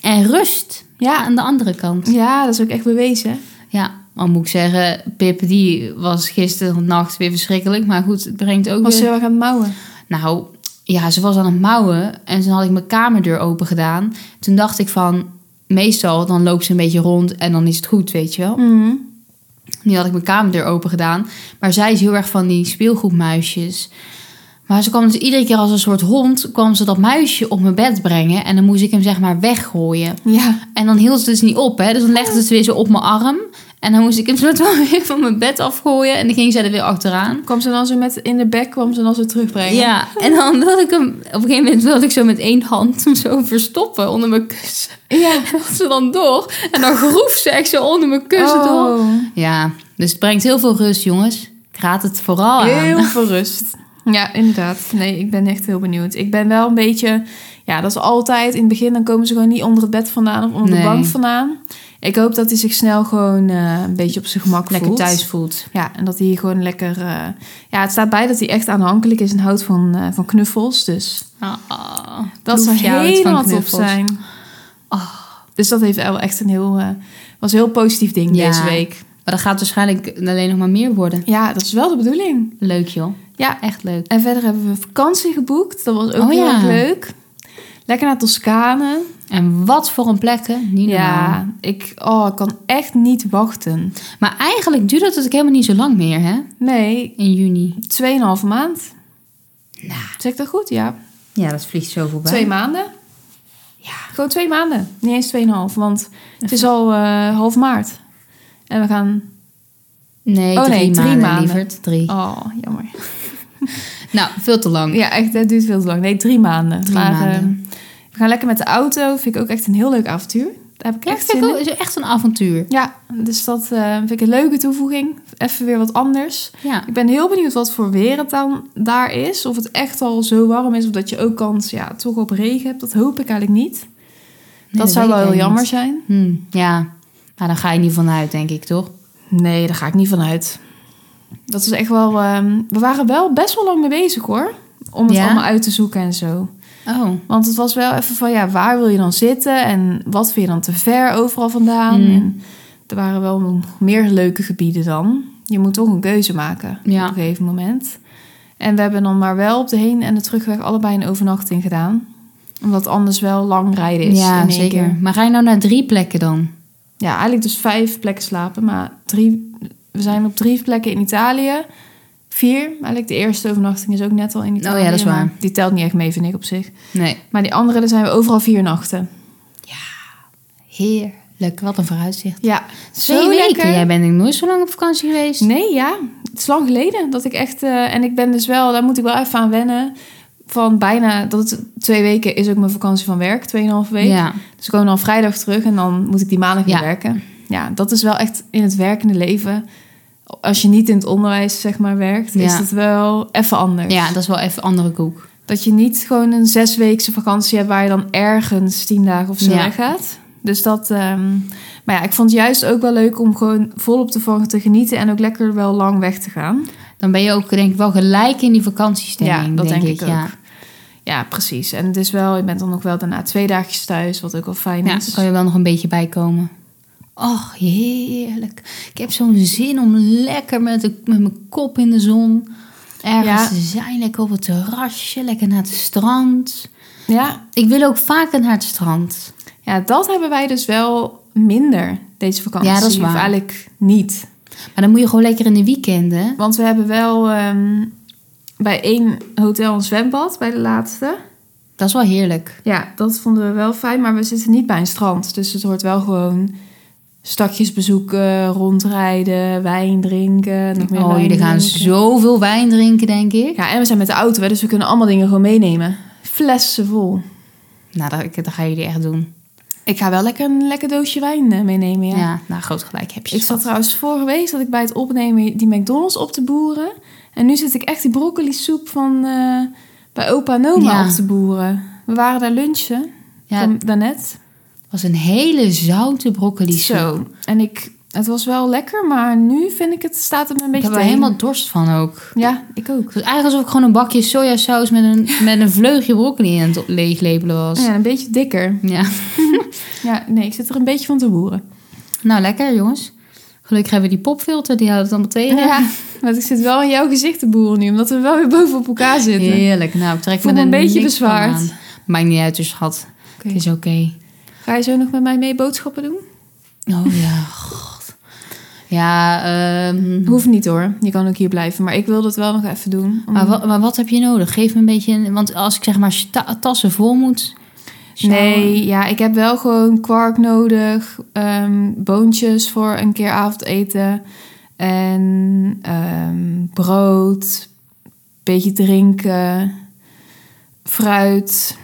Speaker 2: En rust.
Speaker 1: Ja.
Speaker 2: Aan de andere kant.
Speaker 1: Ja, dat is ook echt bewezen.
Speaker 2: Ja, al moet ik zeggen, Pip die was gisteren nacht weer verschrikkelijk. Maar goed, het brengt ook
Speaker 1: Was ze
Speaker 2: weer...
Speaker 1: heel erg aan het mouwen.
Speaker 2: Nou, ja, ze was aan het mouwen en toen had ik mijn kamerdeur open gedaan. Toen dacht ik van, meestal dan loopt ze een beetje rond en dan is het goed, weet je wel.
Speaker 1: Mhm.
Speaker 2: Nu had ik mijn kamerdeur open gedaan. Maar zij is heel erg van die speelgoedmuisjes. Maar ze kwam dus iedere keer als een soort hond, kwam ze dat muisje op mijn bed brengen. En dan moest ik hem zeg maar weggooien.
Speaker 1: Ja.
Speaker 2: En dan hield ze dus niet op, hè. Dus dan legde ze het weer zo op mijn arm. En dan moest ik hem zo weer van mijn bed afgooien. En dan ging zij er weer achteraan.
Speaker 1: Kwam ze dan zo met in de bek, kwam ze dan zo terugbrengen.
Speaker 2: Ja, en dan wilde ik hem... Op een gegeven moment wilde ik zo met één hand hem zo verstoppen onder mijn kussen.
Speaker 1: Ja.
Speaker 2: En had ze dan door. En dan groef ze echt zo onder mijn kussen door.
Speaker 1: Oh.
Speaker 2: Ja, dus het brengt heel veel rust, jongens. Ik raad het vooral aan.
Speaker 1: Heel veel rust. Oh, Ja, inderdaad. Nee, ik ben echt heel benieuwd. Ik ben wel een beetje... Ja, dat is altijd. In het begin dan komen ze gewoon niet onder het bed vandaan of onder
Speaker 2: Nee.
Speaker 1: de bank vandaan. Ik hoop dat hij zich snel gewoon eh, een beetje op zijn gemak
Speaker 2: Lekker
Speaker 1: voelt.
Speaker 2: thuis voelt.
Speaker 1: Ja, en dat hij gewoon lekker... eh, ja, het staat bij dat hij echt aanhankelijk is en houdt van, eh, van knuffels. Dus
Speaker 2: Ah,
Speaker 1: dat zou
Speaker 2: Loefje houdt van
Speaker 1: helemaal top
Speaker 2: knuffels.
Speaker 1: zijn. Dus dat heeft wel echt een heel... eh, was een heel positief ding
Speaker 2: Ja.
Speaker 1: deze week.
Speaker 2: Maar dat gaat waarschijnlijk alleen nog maar meer worden.
Speaker 1: Ja, dat is wel de bedoeling.
Speaker 2: Leuk, joh.
Speaker 1: Ja,
Speaker 2: Echt leuk.
Speaker 1: En verder hebben we een vakantie geboekt. Dat was ook
Speaker 2: Oh,
Speaker 1: heel
Speaker 2: ja.
Speaker 1: erg leuk. Lekker naar Toscane.
Speaker 2: En wat voor een plekken. Niet normaal.
Speaker 1: Ja, ik, oh, ik kan echt niet wachten.
Speaker 2: Maar eigenlijk duurt het ook helemaal niet zo lang meer, hè?
Speaker 1: Nee,
Speaker 2: In juni.
Speaker 1: 2,5 maand.
Speaker 2: Nou.
Speaker 1: Zeg ik dat goed? Ja.
Speaker 2: Ja, dat vliegt zo voorbij.
Speaker 1: Twee maanden.
Speaker 2: Ja.
Speaker 1: Gewoon twee maanden. Niet eens 2,5, want het is al eh, half maart. En we gaan...
Speaker 2: Nee,
Speaker 1: Oh,
Speaker 2: drie,
Speaker 1: nee, drie
Speaker 2: maanden,
Speaker 1: maanden.
Speaker 2: lieverd. Drie.
Speaker 1: Oh, jammer.
Speaker 2: Nou, veel te lang.
Speaker 1: Ja, echt, dat duurt veel te lang. Nee, drie maanden.
Speaker 2: Drie
Speaker 1: maar
Speaker 2: maanden.
Speaker 1: eh, we gaan lekker met de auto. Vind ik ook echt een heel leuk avontuur. Daar heb ik
Speaker 2: Ja,
Speaker 1: echt
Speaker 2: dat vind
Speaker 1: zin
Speaker 2: ik
Speaker 1: in.
Speaker 2: ook- is echt een avontuur.
Speaker 1: Ja, dus dat eh, vind ik een leuke toevoeging. Even weer wat anders.
Speaker 2: Ja.
Speaker 1: Ik ben heel benieuwd wat voor weer het dan daar is. Of het echt al zo warm is. Of dat je ook kans ja, toch op regen hebt. Dat hoop ik eigenlijk niet. dat, zou wel heel jammer zijn.
Speaker 2: zijn. ja, nou, daar ga je niet vanuit, denk ik, toch?
Speaker 1: Nee, daar ga ik niet van uit. Dat is echt wel... ehm, we waren wel best wel lang mee bezig hoor. Om het
Speaker 2: Ja?
Speaker 1: allemaal uit te zoeken en zo.
Speaker 2: Oh.
Speaker 1: Want het was wel even van, ja, waar wil je dan zitten? En wat vind je dan te ver overal vandaan?
Speaker 2: Mm.
Speaker 1: En er waren wel nog meer leuke gebieden dan. Je moet toch een keuze maken
Speaker 2: Ja.
Speaker 1: op een gegeven moment. En we hebben dan maar wel op de heen- en de terugweg allebei een overnachting gedaan. Omdat anders wel lang rijden is in
Speaker 2: ja,
Speaker 1: één
Speaker 2: zeker.
Speaker 1: keer.
Speaker 2: Maar ga je nou naar drie plekken dan?
Speaker 1: Ja, eigenlijk dus vijf plekken slapen. Maar drie, we zijn op drie plekken in Italië. Vier, eigenlijk de eerste overnachting is ook net al in Italië.
Speaker 2: Oh ja, dat is
Speaker 1: maar
Speaker 2: waar.
Speaker 1: Die telt niet echt mee, vind ik op zich.
Speaker 2: Nee.
Speaker 1: Maar die andere, daar zijn we overal vier nachten.
Speaker 2: Heerlijk, wat een vooruitzicht.
Speaker 1: Ja,
Speaker 2: Twee
Speaker 1: zo
Speaker 2: weken.
Speaker 1: lekker.
Speaker 2: Jij bent nooit zo lang op vakantie geweest.
Speaker 1: Nee, ja. Het is lang geleden dat ik echt... eh, en ik ben dus wel... Daar moet ik wel even aan wennen. Van bijna... Dat het- twee weken is ook mijn vakantie van werk. Tweeënhalve week.
Speaker 2: Ja,
Speaker 1: Dus ik kom dan vrijdag terug en dan moet ik die maandag weer
Speaker 2: Ja.
Speaker 1: werken. Ja, dat is wel echt in het werkende leven. Als je niet in het onderwijs, zeg maar, werkt... is
Speaker 2: Ja.
Speaker 1: dat wel even anders.
Speaker 2: ja, dat is wel even andere koek.
Speaker 1: Dat je niet gewoon een zesweekse vakantie hebt waar je dan ergens tien dagen of zo
Speaker 2: Ja.
Speaker 1: weggaat. Dus dat. ehm, maar ja, ik vond het juist ook wel leuk om gewoon volop te te genieten en ook lekker wel lang weg te gaan.
Speaker 2: Dan ben je ook denk ik wel gelijk in die vakantiestemming.
Speaker 1: Ja, dat denk ik ook.
Speaker 2: Ja.
Speaker 1: Ja, precies. En het is wel, je bent dan nog wel daarna twee dagjes thuis, wat ook wel fijn
Speaker 2: Ja,
Speaker 1: is.
Speaker 2: dan kan je wel nog een beetje bijkomen. ach heerlijk. Ik heb zo'n zin om lekker met, de, met mijn kop in de zon ergens
Speaker 1: Ja.
Speaker 2: te zijn. Lekker op het terrasje, lekker naar het strand.
Speaker 1: Ja.
Speaker 2: Ik wil ook vaker naar het strand.
Speaker 1: ja, dat hebben wij dus wel minder deze vakantie.
Speaker 2: Ja, dat is waar.
Speaker 1: Of eigenlijk niet.
Speaker 2: Maar dan moet je gewoon lekker in de weekenden.
Speaker 1: Want we hebben wel ehm, bij één hotel een zwembad, bij de laatste.
Speaker 2: Dat is wel heerlijk.
Speaker 1: Ja, dat vonden we wel fijn, maar we zitten niet bij een strand. Dus het hoort wel gewoon stadjes bezoeken, rondrijden, wijn drinken. Nog meer
Speaker 2: oh,
Speaker 1: wijn
Speaker 2: jullie gaan
Speaker 1: drinken.
Speaker 2: zoveel wijn drinken, denk ik.
Speaker 1: Ja, en we zijn met de auto, hè, dus we kunnen allemaal dingen gewoon meenemen. Flessen vol.
Speaker 2: Nou, dat, dat gaan jullie echt doen.
Speaker 1: Ik ga wel lekker een lekker doosje wijn eh, meenemen,
Speaker 2: Ja,
Speaker 1: ja.
Speaker 2: nou, groot gelijk heb je.
Speaker 1: Ik zat trouwens vorige week zat ik bij het opnemen die McDonald's op te boeren. En nu zit ik echt die broccoli soep van eh, bij opa en oma
Speaker 2: Ja.
Speaker 1: op te boeren. We waren daar lunchen,
Speaker 2: Ja,
Speaker 1: van daarnet.
Speaker 2: het was een hele zoute broccoli soep.
Speaker 1: Zo. En ik, het was wel lekker, maar nu vind ik het, staat het me een
Speaker 2: Ik
Speaker 1: beetje
Speaker 2: heb er
Speaker 1: tegen.
Speaker 2: helemaal dorst van ook.
Speaker 1: Ja, ik ook.
Speaker 2: Het was eigenlijk alsof ik gewoon een bakje sojasaus met een, met een vleugje broccoli in het leeglepelen was.
Speaker 1: Ja, een beetje dikker.
Speaker 2: Ja.
Speaker 1: Ja, nee, ik zit er een beetje van te boeren.
Speaker 2: Nou, lekker jongens. Gelukkig hebben we die popfilter, die houdt het allemaal tegen.
Speaker 1: want ik zit wel in jouw gezicht te boeren nu, omdat we wel weer boven op elkaar zitten.
Speaker 2: Heerlijk. Nou, ik trek
Speaker 1: Voel
Speaker 2: me
Speaker 1: me
Speaker 2: er
Speaker 1: een beetje
Speaker 2: niks van
Speaker 1: bezwaard.
Speaker 2: aan. Maakt niet uit, dus schat.
Speaker 1: Oké.
Speaker 2: Het is oké.
Speaker 1: Ga je zo nog met mij mee boodschappen doen?
Speaker 2: Oh ja, god. Ja, ehm,
Speaker 1: Hoeft niet hoor, je kan ook hier blijven. Maar ik wil dat wel nog even doen. Om-
Speaker 2: maar, wat, maar wat heb je nodig? Geef me een beetje... een- Want als ik zeg maar ta- tassen vol moet...
Speaker 1: Nee, ja, ik heb wel gewoon kwark nodig. ehm, boontjes voor een keer avondeten. En ehm, brood. Beetje drinken. Fruit.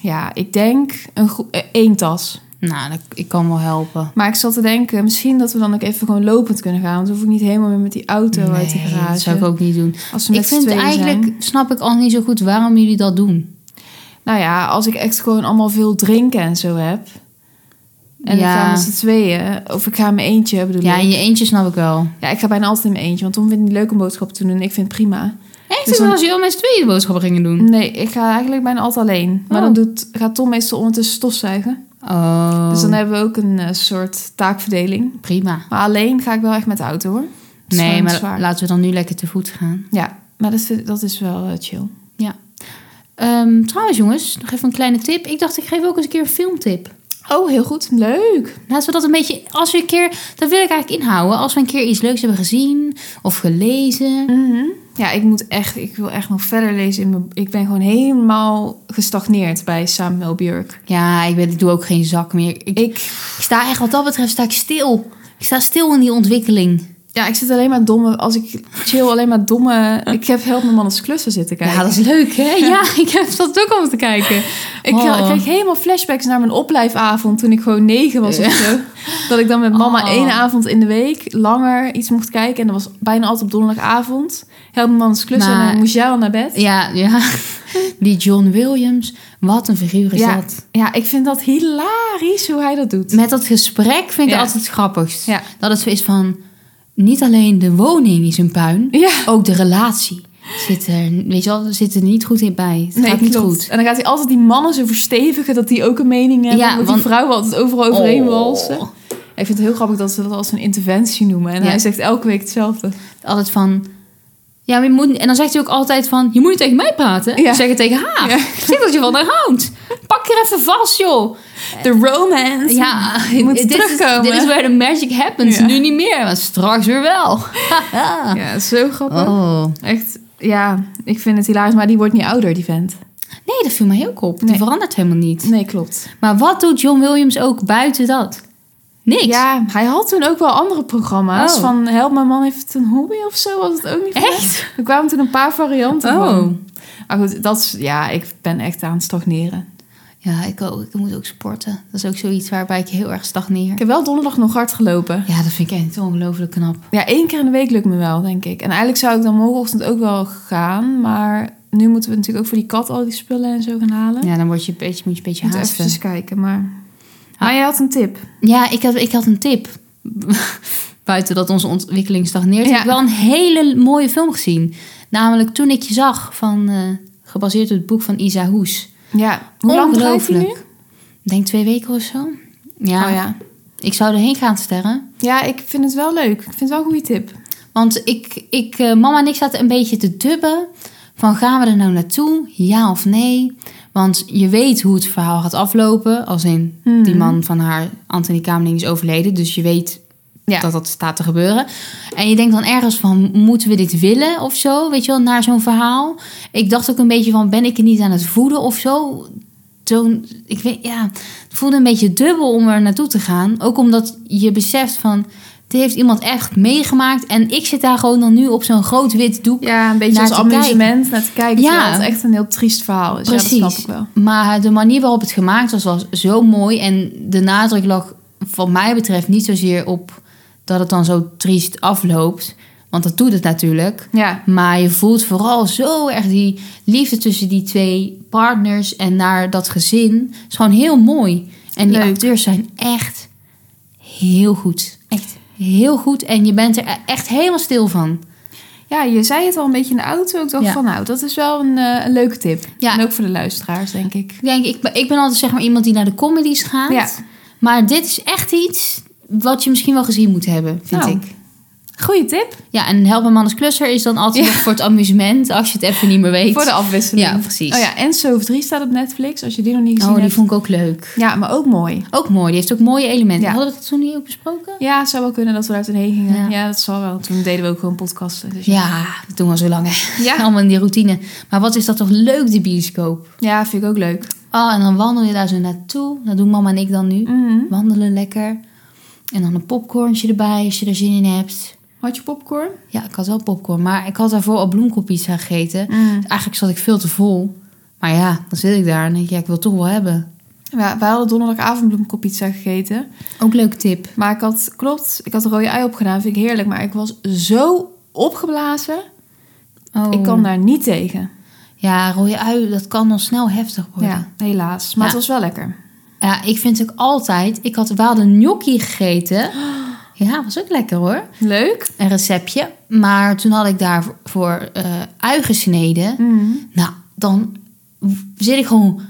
Speaker 1: Ja, ik denk een gro- eh, één tas.
Speaker 2: Nou, dat- ik kan wel helpen.
Speaker 1: Maar ik zat te denken, misschien dat we dan ook even gewoon lopend kunnen gaan. Want dan hoef ik niet helemaal meer met die auto uit de
Speaker 2: Nee, dat
Speaker 1: garage.
Speaker 2: zou ik ook niet doen.
Speaker 1: Als we met
Speaker 2: Ik vind eigenlijk,
Speaker 1: Zijn.
Speaker 2: snap ik al niet zo goed waarom jullie dat doen.
Speaker 1: Nou ja, als ik echt gewoon allemaal veel drinken en zo heb. En ik ga
Speaker 2: ja,
Speaker 1: met z'n tweeën. Of ik ga in mijn eentje, bedoel
Speaker 2: ja,
Speaker 1: ik.
Speaker 2: in je eentje snap ik wel.
Speaker 1: Ja, ik ga bijna altijd in mijn eentje, want Tom vindt het niet leuk om boodschappen te doen. en Ik vind het Mm. prima.
Speaker 2: Echt?
Speaker 1: Dus
Speaker 2: Dus
Speaker 1: dan-
Speaker 2: als jullie al met z'n tweeën boodschappen gingen doen?
Speaker 1: Nee, ik ga eigenlijk bijna altijd alleen. Maar
Speaker 2: Oh.
Speaker 1: dan doet, gaat Tom meestal ondertussen stofzuigen.
Speaker 2: Oh,
Speaker 1: Dus dan hebben we ook een eh, soort taakverdeling.
Speaker 2: prima.
Speaker 1: Maar alleen ga ik wel echt met de auto hoor. Dat is
Speaker 2: Nee,
Speaker 1: gewoon
Speaker 2: maar
Speaker 1: zwaar.
Speaker 2: laten we dan nu lekker te voet gaan.
Speaker 1: Ja, maar dat is, dat is wel eh, chill.
Speaker 2: Ehm, trouwens jongens, nog even een kleine tip. Ik dacht, ik geef ook eens een keer een filmtip.
Speaker 1: Oh, heel goed. Leuk.
Speaker 2: Laten we dat een beetje, als we een keer, dat wil ik eigenlijk inhouden. Als we een keer iets leuks hebben gezien of gelezen.
Speaker 1: Mhm. Ja, ik moet echt, ik wil echt nog verder lezen. In mijn, ik ben gewoon helemaal gestagneerd bij Samuel Björk.
Speaker 2: Ja, ik, ben, ik doe ook geen zak meer. Ik, ik
Speaker 1: Ik,
Speaker 2: sta echt, wat dat betreft, sta ik stil. Ik sta stil in die ontwikkeling.
Speaker 1: ja, ik zit alleen maar domme, als ik chill alleen maar domme... Ik heb Help Mijn Man als Klussen zitten kijken.
Speaker 2: Ja, dat is leuk, hè? Ja, ik heb dat ook om te kijken.
Speaker 1: Ik
Speaker 2: Oh.
Speaker 1: krijg- kreeg helemaal flashbacks naar mijn opblijfavond toen ik gewoon negen was of zo. Dat ik dan met mama
Speaker 2: Oh.
Speaker 1: één avond in de week langer iets mocht kijken. En dat was bijna altijd op donderdagavond. Help mijn man's klussen en
Speaker 2: Maar-
Speaker 1: dan moest jij al naar bed.
Speaker 2: Ja, ja. Die John Williams, wat een figuur is
Speaker 1: Ja.
Speaker 2: dat.
Speaker 1: Ja, ik vind dat hilarisch hoe hij dat doet.
Speaker 2: Met dat gesprek vind ik
Speaker 1: Ja.
Speaker 2: altijd het grappigst.
Speaker 1: Ja.
Speaker 2: Dat het zo is van, niet alleen de woning is een puin,
Speaker 1: Ja,
Speaker 2: ook de relatie zit er, weet je wel, zit er niet goed in bij. Het gaat niet
Speaker 1: klopt.
Speaker 2: goed.
Speaker 1: En dan gaat hij altijd die mannen zo verstevigen dat die ook een mening hebben.
Speaker 2: Ja,
Speaker 1: Ja, want die
Speaker 2: want-
Speaker 1: vrouwen altijd overal overheen
Speaker 2: Oh.
Speaker 1: walsen. Ik vind het heel grappig dat ze dat als een interventie noemen. En
Speaker 2: Ja.
Speaker 1: hij zegt elke week hetzelfde.
Speaker 2: Altijd van, ja, maar je moet, en dan zegt hij ook altijd van, je moet niet tegen mij praten.
Speaker 1: Ja.
Speaker 2: Zeg het tegen haar.
Speaker 1: Ja.
Speaker 2: Zeg dat je van haar houdt. Pak er even vast, joh.
Speaker 1: The romance.
Speaker 2: Eh, Ja,
Speaker 1: Je moet
Speaker 2: dit
Speaker 1: terugkomen.
Speaker 2: Is, dit is where the magic happens.
Speaker 1: Ja.
Speaker 2: Nu niet meer, maar straks weer wel.
Speaker 1: ja zo grappig.
Speaker 2: Oh.
Speaker 1: Echt, ja, ik vind het hilarisch, maar die wordt niet ouder, die vent.
Speaker 2: Nee, dat viel mij ook op. Die
Speaker 1: Nee.
Speaker 2: verandert helemaal niet.
Speaker 1: Nee, klopt.
Speaker 2: Maar wat doet John Williams ook buiten dat? Niks.
Speaker 1: Ja, hij had toen ook wel andere programma's.
Speaker 2: Oh.
Speaker 1: Van Help, mijn man heeft een hobby of zo, was het ook niet. van-
Speaker 2: Echt?
Speaker 1: Er kwamen toen een paar varianten
Speaker 2: Oh.
Speaker 1: van. Maar goed, dat is, ja, ik ben echt aan het stagneren.
Speaker 2: Ja, ik, ook, ik moet ook sporten. Dat is ook zoiets waarbij ik heel erg
Speaker 1: Ik
Speaker 2: stagneer.
Speaker 1: heb wel donderdag nog hard gelopen.
Speaker 2: Ja, dat vind ik echt ongelooflijk knap.
Speaker 1: Ja, één keer in de week lukt me wel, denk ik. En eigenlijk zou ik dan morgenochtend ook wel gaan. Maar nu moeten we natuurlijk ook voor die kat al die spullen en zo gaan halen.
Speaker 2: Ja, dan word je een beetje, moet je een beetje
Speaker 1: Moet
Speaker 2: haasten.
Speaker 1: even kijken, maar... Maar jij Ah, had een tip.
Speaker 2: Ja, ik had, ik had een tip. Buiten dat onze ontwikkeling stagneert.
Speaker 1: Ja.
Speaker 2: Ik heb wel een hele mooie film gezien. Namelijk Toen ik je zag, van, eh, gebaseerd op het boek van Isa Hoes.
Speaker 1: Oh, Ja, hoe lang draait hij nu?
Speaker 2: Ongelooflijk. Ik denk twee weken of zo. Ja,
Speaker 1: Oh ja.
Speaker 2: Ik zou erheen gaan sterren.
Speaker 1: Ja, ik vind het wel leuk. Ik vind het wel een goede tip.
Speaker 2: Want ik, ik, eh, mama en ik zaten een beetje te dubben. Van gaan we er nou naartoe? Ja of nee? Want je weet hoe het verhaal gaat aflopen. Als in
Speaker 1: Hmm.
Speaker 2: die man van haar, Anthony Kamerling, is overleden. Dus je weet
Speaker 1: Ja.
Speaker 2: dat dat staat te gebeuren. En je denkt dan ergens van, moeten we dit willen of zo? Weet je wel, naar zo'n verhaal. Ik dacht ook een beetje van, ben ik het niet aan het voeden of zo? Toen, ik weet, ja, het voelde een beetje dubbel om er naartoe te gaan. Ook omdat je beseft van, dit heeft iemand echt meegemaakt. En ik zit daar gewoon dan nu op zo'n groot wit doek.
Speaker 1: Ja, een beetje
Speaker 2: Naar
Speaker 1: als
Speaker 2: te
Speaker 1: amusement naar te kijken.
Speaker 2: Ja.
Speaker 1: Ja. het echt een heel triest verhaal is. Ja, dat snap ik wel.
Speaker 2: Maar de manier waarop het gemaakt was, was zo mooi. En de nadruk lag, wat mij betreft, niet zozeer op dat het dan zo triest afloopt. Want dat doet het natuurlijk.
Speaker 1: Ja.
Speaker 2: Maar je voelt vooral zo erg die liefde tussen die twee partners en naar dat gezin. is gewoon heel mooi. En die
Speaker 1: Leuk.
Speaker 2: acteurs zijn echt heel goed. Echt heel goed. En je bent er echt helemaal stil van.
Speaker 1: ja, je zei het al een beetje in de auto. Ik dacht
Speaker 2: Ja.
Speaker 1: van nou, dat is wel een, eh, een leuke tip.
Speaker 2: Ja.
Speaker 1: En ook voor de luisteraars, denk ik.
Speaker 2: Ik denk, ik, ben- ik ben altijd zeg maar iemand die naar de comedies gaat.
Speaker 1: Ja.
Speaker 2: Maar dit is echt iets wat je misschien wel gezien moet hebben, vind
Speaker 1: Nou.
Speaker 2: ik.
Speaker 1: Goeie tip
Speaker 2: Ja, en Help een man als klusser is dan altijd nog voor het amusement, als je het even niet meer weet. Oh,
Speaker 1: voor de afwisseling.
Speaker 2: Ja, precies.
Speaker 1: Oh ja, en Sove 3 staat op Netflix, als je die nog niet gezien
Speaker 2: oh, die
Speaker 1: hebt.
Speaker 2: vond ik ook leuk.
Speaker 1: Ja, maar ook mooi.
Speaker 2: Ook mooi, die heeft ook mooie elementen.
Speaker 1: Ja.
Speaker 2: Hadden we dat toen niet ook besproken?
Speaker 1: Ja, het zou wel kunnen dat we uit heen gingen.
Speaker 2: Ja.
Speaker 1: Ja. dat zal wel. Toen deden we ook gewoon podcasten. Dus
Speaker 2: Ja, dat doen we al zo lang. hè.
Speaker 1: Ja.
Speaker 2: Allemaal in die routine. Maar wat is dat toch leuk, die bioscoop.
Speaker 1: ja, vind ik ook leuk.
Speaker 2: Oh, en dan wandel je daar zo naartoe. Dat doen mama en ik dan nu.
Speaker 1: Mhm.
Speaker 2: Wandelen lekker. En dan een popcornje erbij, als je er zin in hebt.
Speaker 1: Had je popcorn?
Speaker 2: Ja, ik had wel popcorn, maar ik had daarvoor al bloemkoolpizza gegeten. Eigenlijk zat ik veel te vol. Maar ja, dan zit ik daar en denk ik, ja, ik wil het toch wel hebben.
Speaker 1: Ja, wij hadden donderdagavond bloemkoolpizza gegeten.
Speaker 2: Ook leuke tip.
Speaker 1: Maar ik had, klopt, ik had een rode ei opgedaan. Vind ik heerlijk. Maar ik was zo opgeblazen.
Speaker 2: Oh.
Speaker 1: Ik kan daar niet tegen.
Speaker 2: Ja, rode ui, dat kan dan snel heftig worden. Ja,
Speaker 1: Ja, helaas. Maar
Speaker 2: Ja.
Speaker 1: het was wel lekker.
Speaker 2: ik vind ook altijd... Ik had wel de gnocchi gegeten. Ja, was ook lekker hoor.
Speaker 1: Leuk.
Speaker 2: Een receptje. Maar toen had ik daarvoor eh ui gesneden.
Speaker 1: Mhm.
Speaker 2: Nou, dan w- zit ik gewoon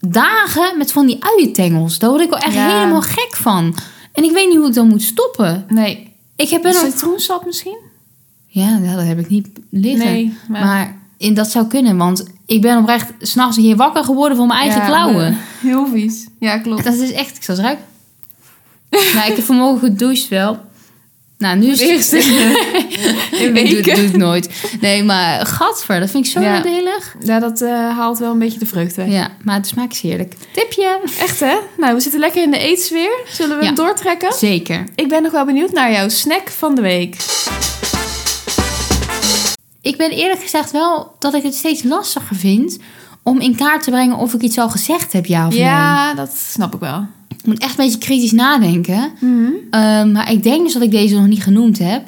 Speaker 2: dagen met van die uientengels. Daar word ik wel echt
Speaker 1: Ja.
Speaker 2: helemaal gek van. En ik weet niet hoe ik dan moet stoppen.
Speaker 1: Nee.
Speaker 2: Ik heb er
Speaker 1: Dus
Speaker 2: nog...
Speaker 1: Citroensap misschien?
Speaker 2: Ja, ja, dat heb ik niet liggen.
Speaker 1: Nee,
Speaker 2: maar...
Speaker 1: maar-
Speaker 2: in, dat zou kunnen, want ik ben oprecht s'nachts hier wakker geworden van mijn eigen
Speaker 1: Ja,
Speaker 2: klauwen.
Speaker 1: nee. Heel vies. Ja, klopt.
Speaker 2: Dat is dus echt, ik zal eens ruiken. nou, ik heb vanmorgen gedoucht wel. Nou, nu is het...
Speaker 1: Eerst in
Speaker 2: Ik doe,
Speaker 1: weken.
Speaker 2: doe het nooit. Nee, maar gadver, dat vind ik zo
Speaker 1: Ja.
Speaker 2: nadelig.
Speaker 1: Ja, dat eh, haalt wel een beetje de vreugde weg.
Speaker 2: Ja, maar de smaak is heerlijk. Tipje.
Speaker 1: Echt hè? Nou, we zitten lekker in de eetsfeer. Zullen we
Speaker 2: Ja.
Speaker 1: hem doortrekken?
Speaker 2: Zeker.
Speaker 1: Ik ben nog wel benieuwd naar jouw snack van de week.
Speaker 2: Ik ben eerlijk gezegd wel dat ik het steeds lastiger vind om in kaart te brengen of ik iets al gezegd heb, ja of nee.
Speaker 1: ja, dat snap ik wel.
Speaker 2: Ik moet echt een beetje kritisch nadenken. Eh, maar ik denk dus dat ik deze nog niet genoemd heb.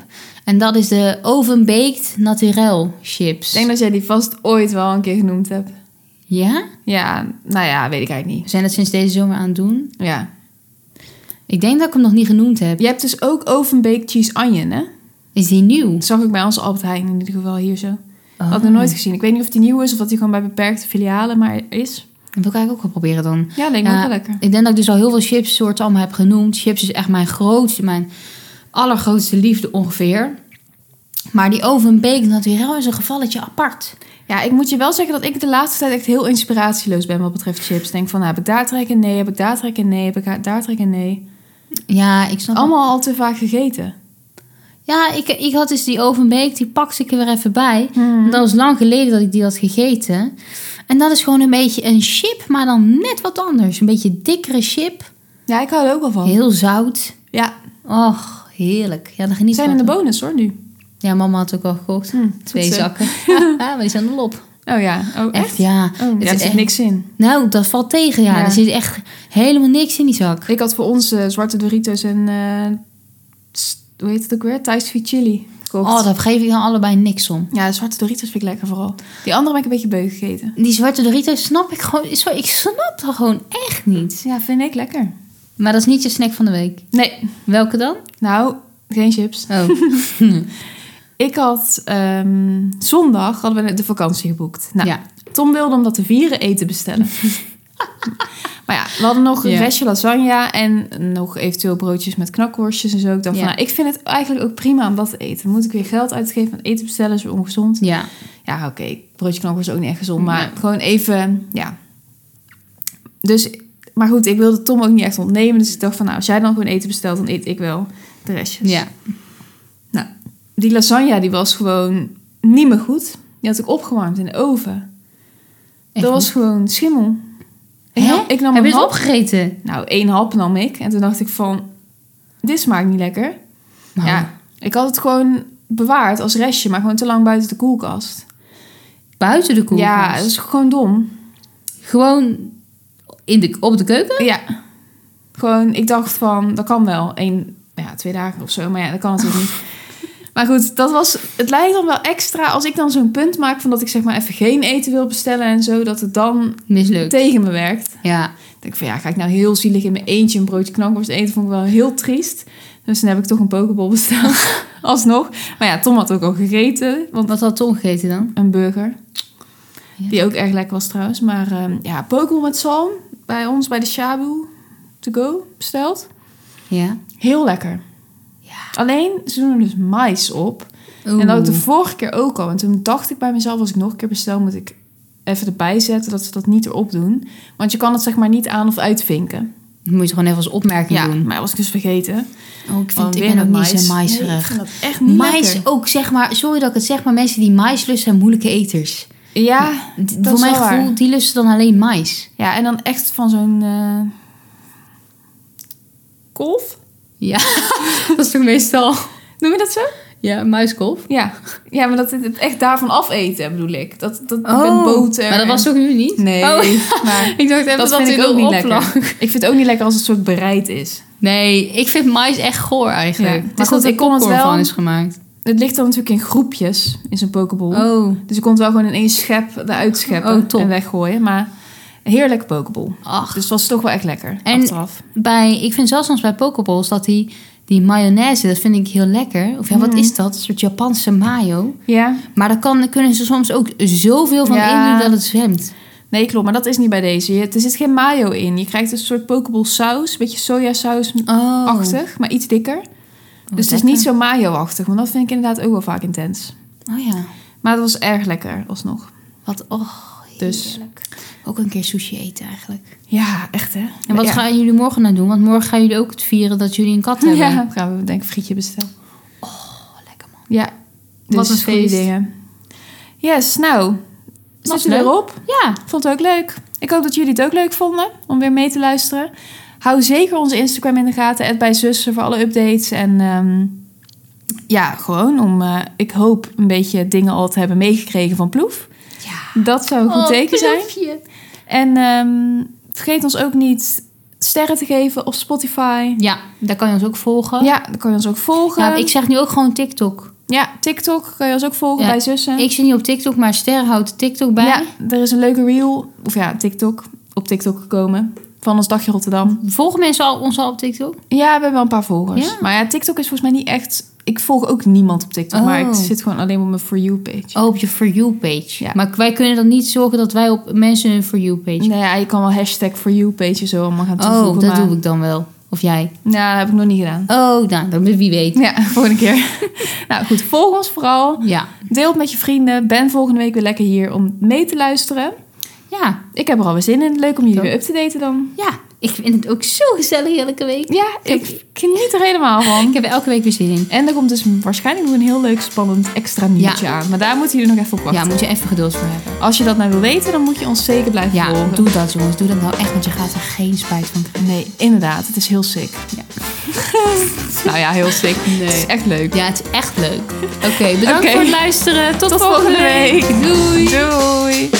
Speaker 2: En dat is de oven-baked naturel chips.
Speaker 1: Ik denk dat jij die vast ooit wel een keer genoemd hebt.
Speaker 2: Ja?
Speaker 1: Ja, nou ja, weet ik eigenlijk niet.
Speaker 2: We zijn het sinds deze zomer aan het doen.
Speaker 1: Ja.
Speaker 2: Ik denk dat ik hem nog niet genoemd heb.
Speaker 1: Je hebt dus ook ovenbaked cheese onion, hè?
Speaker 2: Is die nieuw?
Speaker 1: Dat zag ik bij onze Albert Heijn in ieder geval hier zo.
Speaker 2: Oh.
Speaker 1: Had ik nog nooit gezien. Ik weet niet of die nieuw is of dat die gewoon bij beperkte filialen maar is.
Speaker 2: Dat wil ik eigenlijk ook wel proberen dan.
Speaker 1: Ja, lijkt me
Speaker 2: Ja,
Speaker 1: ook wel lekker.
Speaker 2: Ik denk dat ik dus al heel veel chipsoorten allemaal heb genoemd. Chips is echt mijn grootste, mijn allergrootste liefde ongeveer. Maar die oven-baked naturel is een gevalletje apart.
Speaker 1: Ja, ik moet je wel zeggen dat ik de laatste tijd echt heel inspiratieloos ben wat betreft chips. Denk van, nou, heb ik daar trek in? Nee. Heb ik daar trek in? Nee. Heb ik daar trek in? Nee.
Speaker 2: Ja, ik snap
Speaker 1: Allemaal al te vaak gegeten.
Speaker 2: Ja, ik, ik had dus die ovenbeek, die pakte ik er weer even bij.
Speaker 1: Mhm.
Speaker 2: Dat was lang geleden dat ik die had gegeten. En dat is gewoon een beetje een chip, maar dan net wat anders. Een beetje dikkere chip,
Speaker 1: Ja, ik hou er ook wel van.
Speaker 2: heel zout.
Speaker 1: Ja,
Speaker 2: Och, heerlijk. Ja, dan geniet
Speaker 1: die zijn in de
Speaker 2: ik wel
Speaker 1: bonus hoor nu.
Speaker 2: van. Ja, mama had ook al gekocht.
Speaker 1: Hm,
Speaker 2: Twee
Speaker 1: goed zo.
Speaker 2: zakken. ja, maar die zijn de lop.
Speaker 1: Oh ja, oh, echt?
Speaker 2: ja.
Speaker 1: Oh,
Speaker 2: Het
Speaker 1: ja,
Speaker 2: is
Speaker 1: er zit
Speaker 2: echt-
Speaker 1: niks in.
Speaker 2: Nou, dat valt tegen, ja.
Speaker 1: Ja.
Speaker 2: Er zit echt helemaal niks in die zak.
Speaker 1: Ik had voor ons eh, zwarte Doritos en, eh, s- hoe heet het ook weer? Thai sweet chili gekocht.
Speaker 2: Oh, daar geef ik dan allebei niks om.
Speaker 1: Ja, zwarte Doritos vind ik lekker vooral. Die andere ben ik een beetje beu gegeten.
Speaker 2: Die zwarte Doritos snap ik gewoon... Zo, ik snap dat gewoon echt niet.
Speaker 1: Ja, vind ik lekker.
Speaker 2: Maar dat is niet je snack van de week.
Speaker 1: Nee,
Speaker 2: Welke dan?
Speaker 1: nou, geen chips.
Speaker 2: Oh.
Speaker 1: Ik had, ehm, zondag hadden we de vakantie geboekt. Nou,
Speaker 2: ja.
Speaker 1: Tom wilde om dat te vieren eten bestellen. Maar ja, we hadden nog een
Speaker 2: Ja.
Speaker 1: restje lasagne en nog eventueel broodjes met knakworstjes en zo. Ik dacht
Speaker 2: Ja.
Speaker 1: van, nou, ik vind het eigenlijk ook prima om dat te eten. Dan Moet ik weer geld uitgeven, want eten bestellen is weer ongezond.
Speaker 2: Ja.
Speaker 1: Ja, oké, broodje knakworst is ook niet echt gezond, maar
Speaker 2: Nee.
Speaker 1: gewoon even, ja. Dus, maar goed, ik wilde Tom ook niet echt ontnemen. Dus ik dacht van, nou, als jij dan gewoon eten bestelt, dan eet ik wel de restjes.
Speaker 2: Ja.
Speaker 1: Nou, die lasagne die was gewoon niet meer goed. Die had ik opgewarmd in de oven.
Speaker 2: Echt
Speaker 1: dat was
Speaker 2: niet?
Speaker 1: gewoon schimmel. Ik
Speaker 2: Hè?
Speaker 1: nam, ik nam
Speaker 2: Heb
Speaker 1: een
Speaker 2: je het
Speaker 1: hap.
Speaker 2: opgegeten?
Speaker 1: Nou, één hap nam ik. En toen dacht ik van, dit smaakt niet lekker.
Speaker 2: Nou,
Speaker 1: Ja, ik had het gewoon bewaard als restje, maar gewoon te lang buiten de koelkast.
Speaker 2: Buiten de koelkast?
Speaker 1: Ja, dat is gewoon dom.
Speaker 2: Gewoon in de, op de keuken?
Speaker 1: Ja. Gewoon, ik dacht van, dat kan wel. Eén, nou ja, twee dagen of zo. Maar ja, dat kan natuurlijk niet. Maar goed, dat was, het lijkt dan wel extra als ik dan zo'n punt maak van dat ik zeg maar even geen eten wil bestellen en zo, dat het dan
Speaker 2: Mislukt.
Speaker 1: tegen me werkt.
Speaker 2: Ja.
Speaker 1: Dan denk ik van ja, ga ik nou heel zielig in mijn eentje een broodje knakworst eten? Vond ik wel heel triest. Dus dan heb ik toch een pokeball besteld. Alsnog. Maar ja, Tom had ook al gegeten, want
Speaker 2: Wat had Tom gegeten dan?
Speaker 1: een burger.
Speaker 2: Ja.
Speaker 1: Die ook erg lekker was trouwens. Maar ehm, ja, pokeball met zalm bij ons bij de Shabu to go besteld.
Speaker 2: Ja.
Speaker 1: Heel lekker.
Speaker 2: Ja.
Speaker 1: Alleen, ze doen er dus mais op. En dat had ik de vorige keer ook al. En toen dacht ik bij mezelf, als ik nog een keer bestel, moet ik even erbij zetten dat ze dat niet erop doen. Want je kan het zeg maar niet aan of uitvinken.
Speaker 2: Dat moet je gewoon even als opmerking doen.
Speaker 1: maar dat was ik dus vergeten.
Speaker 2: Oh,
Speaker 1: Want
Speaker 2: ik, vind, ik
Speaker 1: weer
Speaker 2: ben ook
Speaker 1: een
Speaker 2: niet zo
Speaker 1: Nee, ik
Speaker 2: maiserig.
Speaker 1: vind dat echt niet
Speaker 2: mais
Speaker 1: lekker.
Speaker 2: ook, zeg maar, sorry dat ik het zeg, maar mensen die mais lusten zijn moeilijke eters.
Speaker 1: Ja,
Speaker 2: D-
Speaker 1: dat
Speaker 2: Voor
Speaker 1: is
Speaker 2: mijn
Speaker 1: wel
Speaker 2: gevoel,
Speaker 1: waar.
Speaker 2: die lusten dan alleen mais.
Speaker 1: Ja, en dan echt van zo'n... eh, Kolf?
Speaker 2: Ja, dat is toch meestal.
Speaker 1: Noem je dat zo?
Speaker 2: Ja, muiskolf.
Speaker 1: Ja. Ja, maar dat het echt daarvan afeten bedoel ik. Dat, dat
Speaker 2: Oh,
Speaker 1: met boter.
Speaker 2: maar dat was
Speaker 1: en-
Speaker 2: toch nu niet?
Speaker 1: Nee.
Speaker 2: Oh,
Speaker 1: Maar
Speaker 2: ik dacht even dat,
Speaker 1: dat vind
Speaker 2: dit
Speaker 1: ik ook niet
Speaker 2: erop
Speaker 1: lekker.
Speaker 2: lag.
Speaker 1: Ik vind het ook niet lekker als het soort bereid is.
Speaker 2: Nee, ik vind mais echt goor eigenlijk.
Speaker 1: Ja,
Speaker 2: Het
Speaker 1: maar
Speaker 2: is
Speaker 1: goed,
Speaker 2: dat er
Speaker 1: ik kon het
Speaker 2: popcorn
Speaker 1: wel-
Speaker 2: van is gemaakt.
Speaker 1: Het ligt dan natuurlijk in groepjes in zo'n pokeball.
Speaker 2: Oh.
Speaker 1: Dus je kon het wel gewoon in één schep eruit scheppen
Speaker 2: Oh, top.
Speaker 1: en weggooien. Maar een heerlijke pokeball.
Speaker 2: Ach,
Speaker 1: Dus het was toch wel echt lekker
Speaker 2: En-
Speaker 1: achteraf.
Speaker 2: bij, ik vind zelfs soms bij pokeballs dat die, die mayonaise, dat vind ik heel lekker. Of ja, wat
Speaker 1: Mm.
Speaker 2: is dat? Een soort Japanse mayo.
Speaker 1: Ja.
Speaker 2: Maar daar kan, kunnen ze soms ook zoveel van
Speaker 1: Ja.
Speaker 2: in dat het zwemt.
Speaker 1: Nee, klopt. Maar dat is niet bij deze. Je- Er zit geen mayo in. Je krijgt een soort pokeball saus. Een beetje sojasausachtig,
Speaker 2: Oh.
Speaker 1: maar iets dikker. dus het is
Speaker 2: lekker.
Speaker 1: niet zo mayo-achtig. Want dat vind ik inderdaad ook wel vaak intens.
Speaker 2: Oh ja.
Speaker 1: Maar het was erg lekker, alsnog.
Speaker 2: Wat, oh,
Speaker 1: Dus-
Speaker 2: heerlijk. Ook een keer sushi eten eigenlijk.
Speaker 1: Ja, echt hè.
Speaker 2: En wat
Speaker 1: ja.
Speaker 2: gaan jullie morgen nou doen? Want morgen gaan jullie ook het vieren dat jullie een kat hebben.
Speaker 1: Ja, gaan we denk ik frietje bestellen.
Speaker 2: Oh, lekker man.
Speaker 1: Ja, dus
Speaker 2: Wat een
Speaker 1: goede
Speaker 2: feest.
Speaker 1: dingen. Yes, nou, zit er
Speaker 2: leuk.
Speaker 1: weer op.
Speaker 2: Ja,
Speaker 1: Vond het ook leuk. Ik hoop dat jullie het ook leuk vonden om weer mee te luisteren. Hou zeker onze Instagram in de gaten, @bijzussen bij zussen voor alle updates. En ehm, ja, gewoon om, eh, ik hoop, een beetje dingen al te hebben meegekregen van Ploef.
Speaker 2: ja.
Speaker 1: Dat zou een goed
Speaker 2: Oh,
Speaker 1: teken zijn. En ehm, vergeet ons ook niet sterren te geven op Spotify.
Speaker 2: Ja, daar kan je ons ook volgen.
Speaker 1: Ja, dan kan je ons ook volgen.
Speaker 2: Ja, Nou, ik zeg nu ook gewoon TikTok.
Speaker 1: Ja, TikTok kan je ons ook volgen
Speaker 2: Ja,
Speaker 1: bij zussen.
Speaker 2: Ik zit niet op TikTok, maar Ster houdt de TikTok bij.
Speaker 1: Ja, er is een leuke reel, of ja, TikTok, op TikTok gekomen. Van ons dagje Rotterdam.
Speaker 2: Volgen mensen al, ons al op TikTok?
Speaker 1: Ja, we hebben wel een paar volgers.
Speaker 2: Ja.
Speaker 1: Maar ja, TikTok is volgens mij niet echt... Ik volg ook niemand op TikTok,
Speaker 2: Oh.
Speaker 1: maar ik zit gewoon alleen op mijn For You-page.
Speaker 2: Oh, op je For You-page.
Speaker 1: Ja.
Speaker 2: Maar wij kunnen dan niet zorgen dat wij op mensen een For You-page...
Speaker 1: Nou ja, je kan wel hashtag For You-page zo allemaal gaan toevoegen.
Speaker 2: oh, dat
Speaker 1: maar...
Speaker 2: doe ik dan wel. Of jij.
Speaker 1: Nou, dat heb ik nog niet gedaan.
Speaker 2: Oh, nou, dan wie weet.
Speaker 1: Ja, volgende keer. nou goed, volg ons vooral.
Speaker 2: Ja.
Speaker 1: Deel het met je vrienden. Ben volgende week weer lekker hier om mee te luisteren.
Speaker 2: Ja.
Speaker 1: Ik heb er alweer zin in. Leuk om jullie
Speaker 2: Top.
Speaker 1: weer up te daten dan.
Speaker 2: Ja. Ik vind het ook zo gezellig elke week.
Speaker 1: Ja, ik geniet er helemaal van.
Speaker 2: Ik heb er elke week weer zin in.
Speaker 1: En er komt dus waarschijnlijk nog een heel leuk, spannend extra nieuwtje
Speaker 2: Ja.
Speaker 1: aan. Maar daar moeten jullie nog even op
Speaker 2: Ja,
Speaker 1: wachten.
Speaker 2: moet je even geduld voor hebben.
Speaker 1: Als je dat nou wil weten, dan moet je ons zeker blijven
Speaker 2: Ja,
Speaker 1: volgen.
Speaker 2: doe dat jongens. Doe dat nou echt, want je gaat er geen spijt van krijgen.
Speaker 1: Nee, inderdaad. Het is heel sick.
Speaker 2: Ja.
Speaker 1: nou ja, heel sick.
Speaker 2: Nee.
Speaker 1: Het is echt leuk.
Speaker 2: Ja, het is echt leuk. Oké, bedankt
Speaker 1: Oké.
Speaker 2: voor het luisteren. Tot,
Speaker 1: Tot volgende week.
Speaker 2: Doei.
Speaker 1: Doei.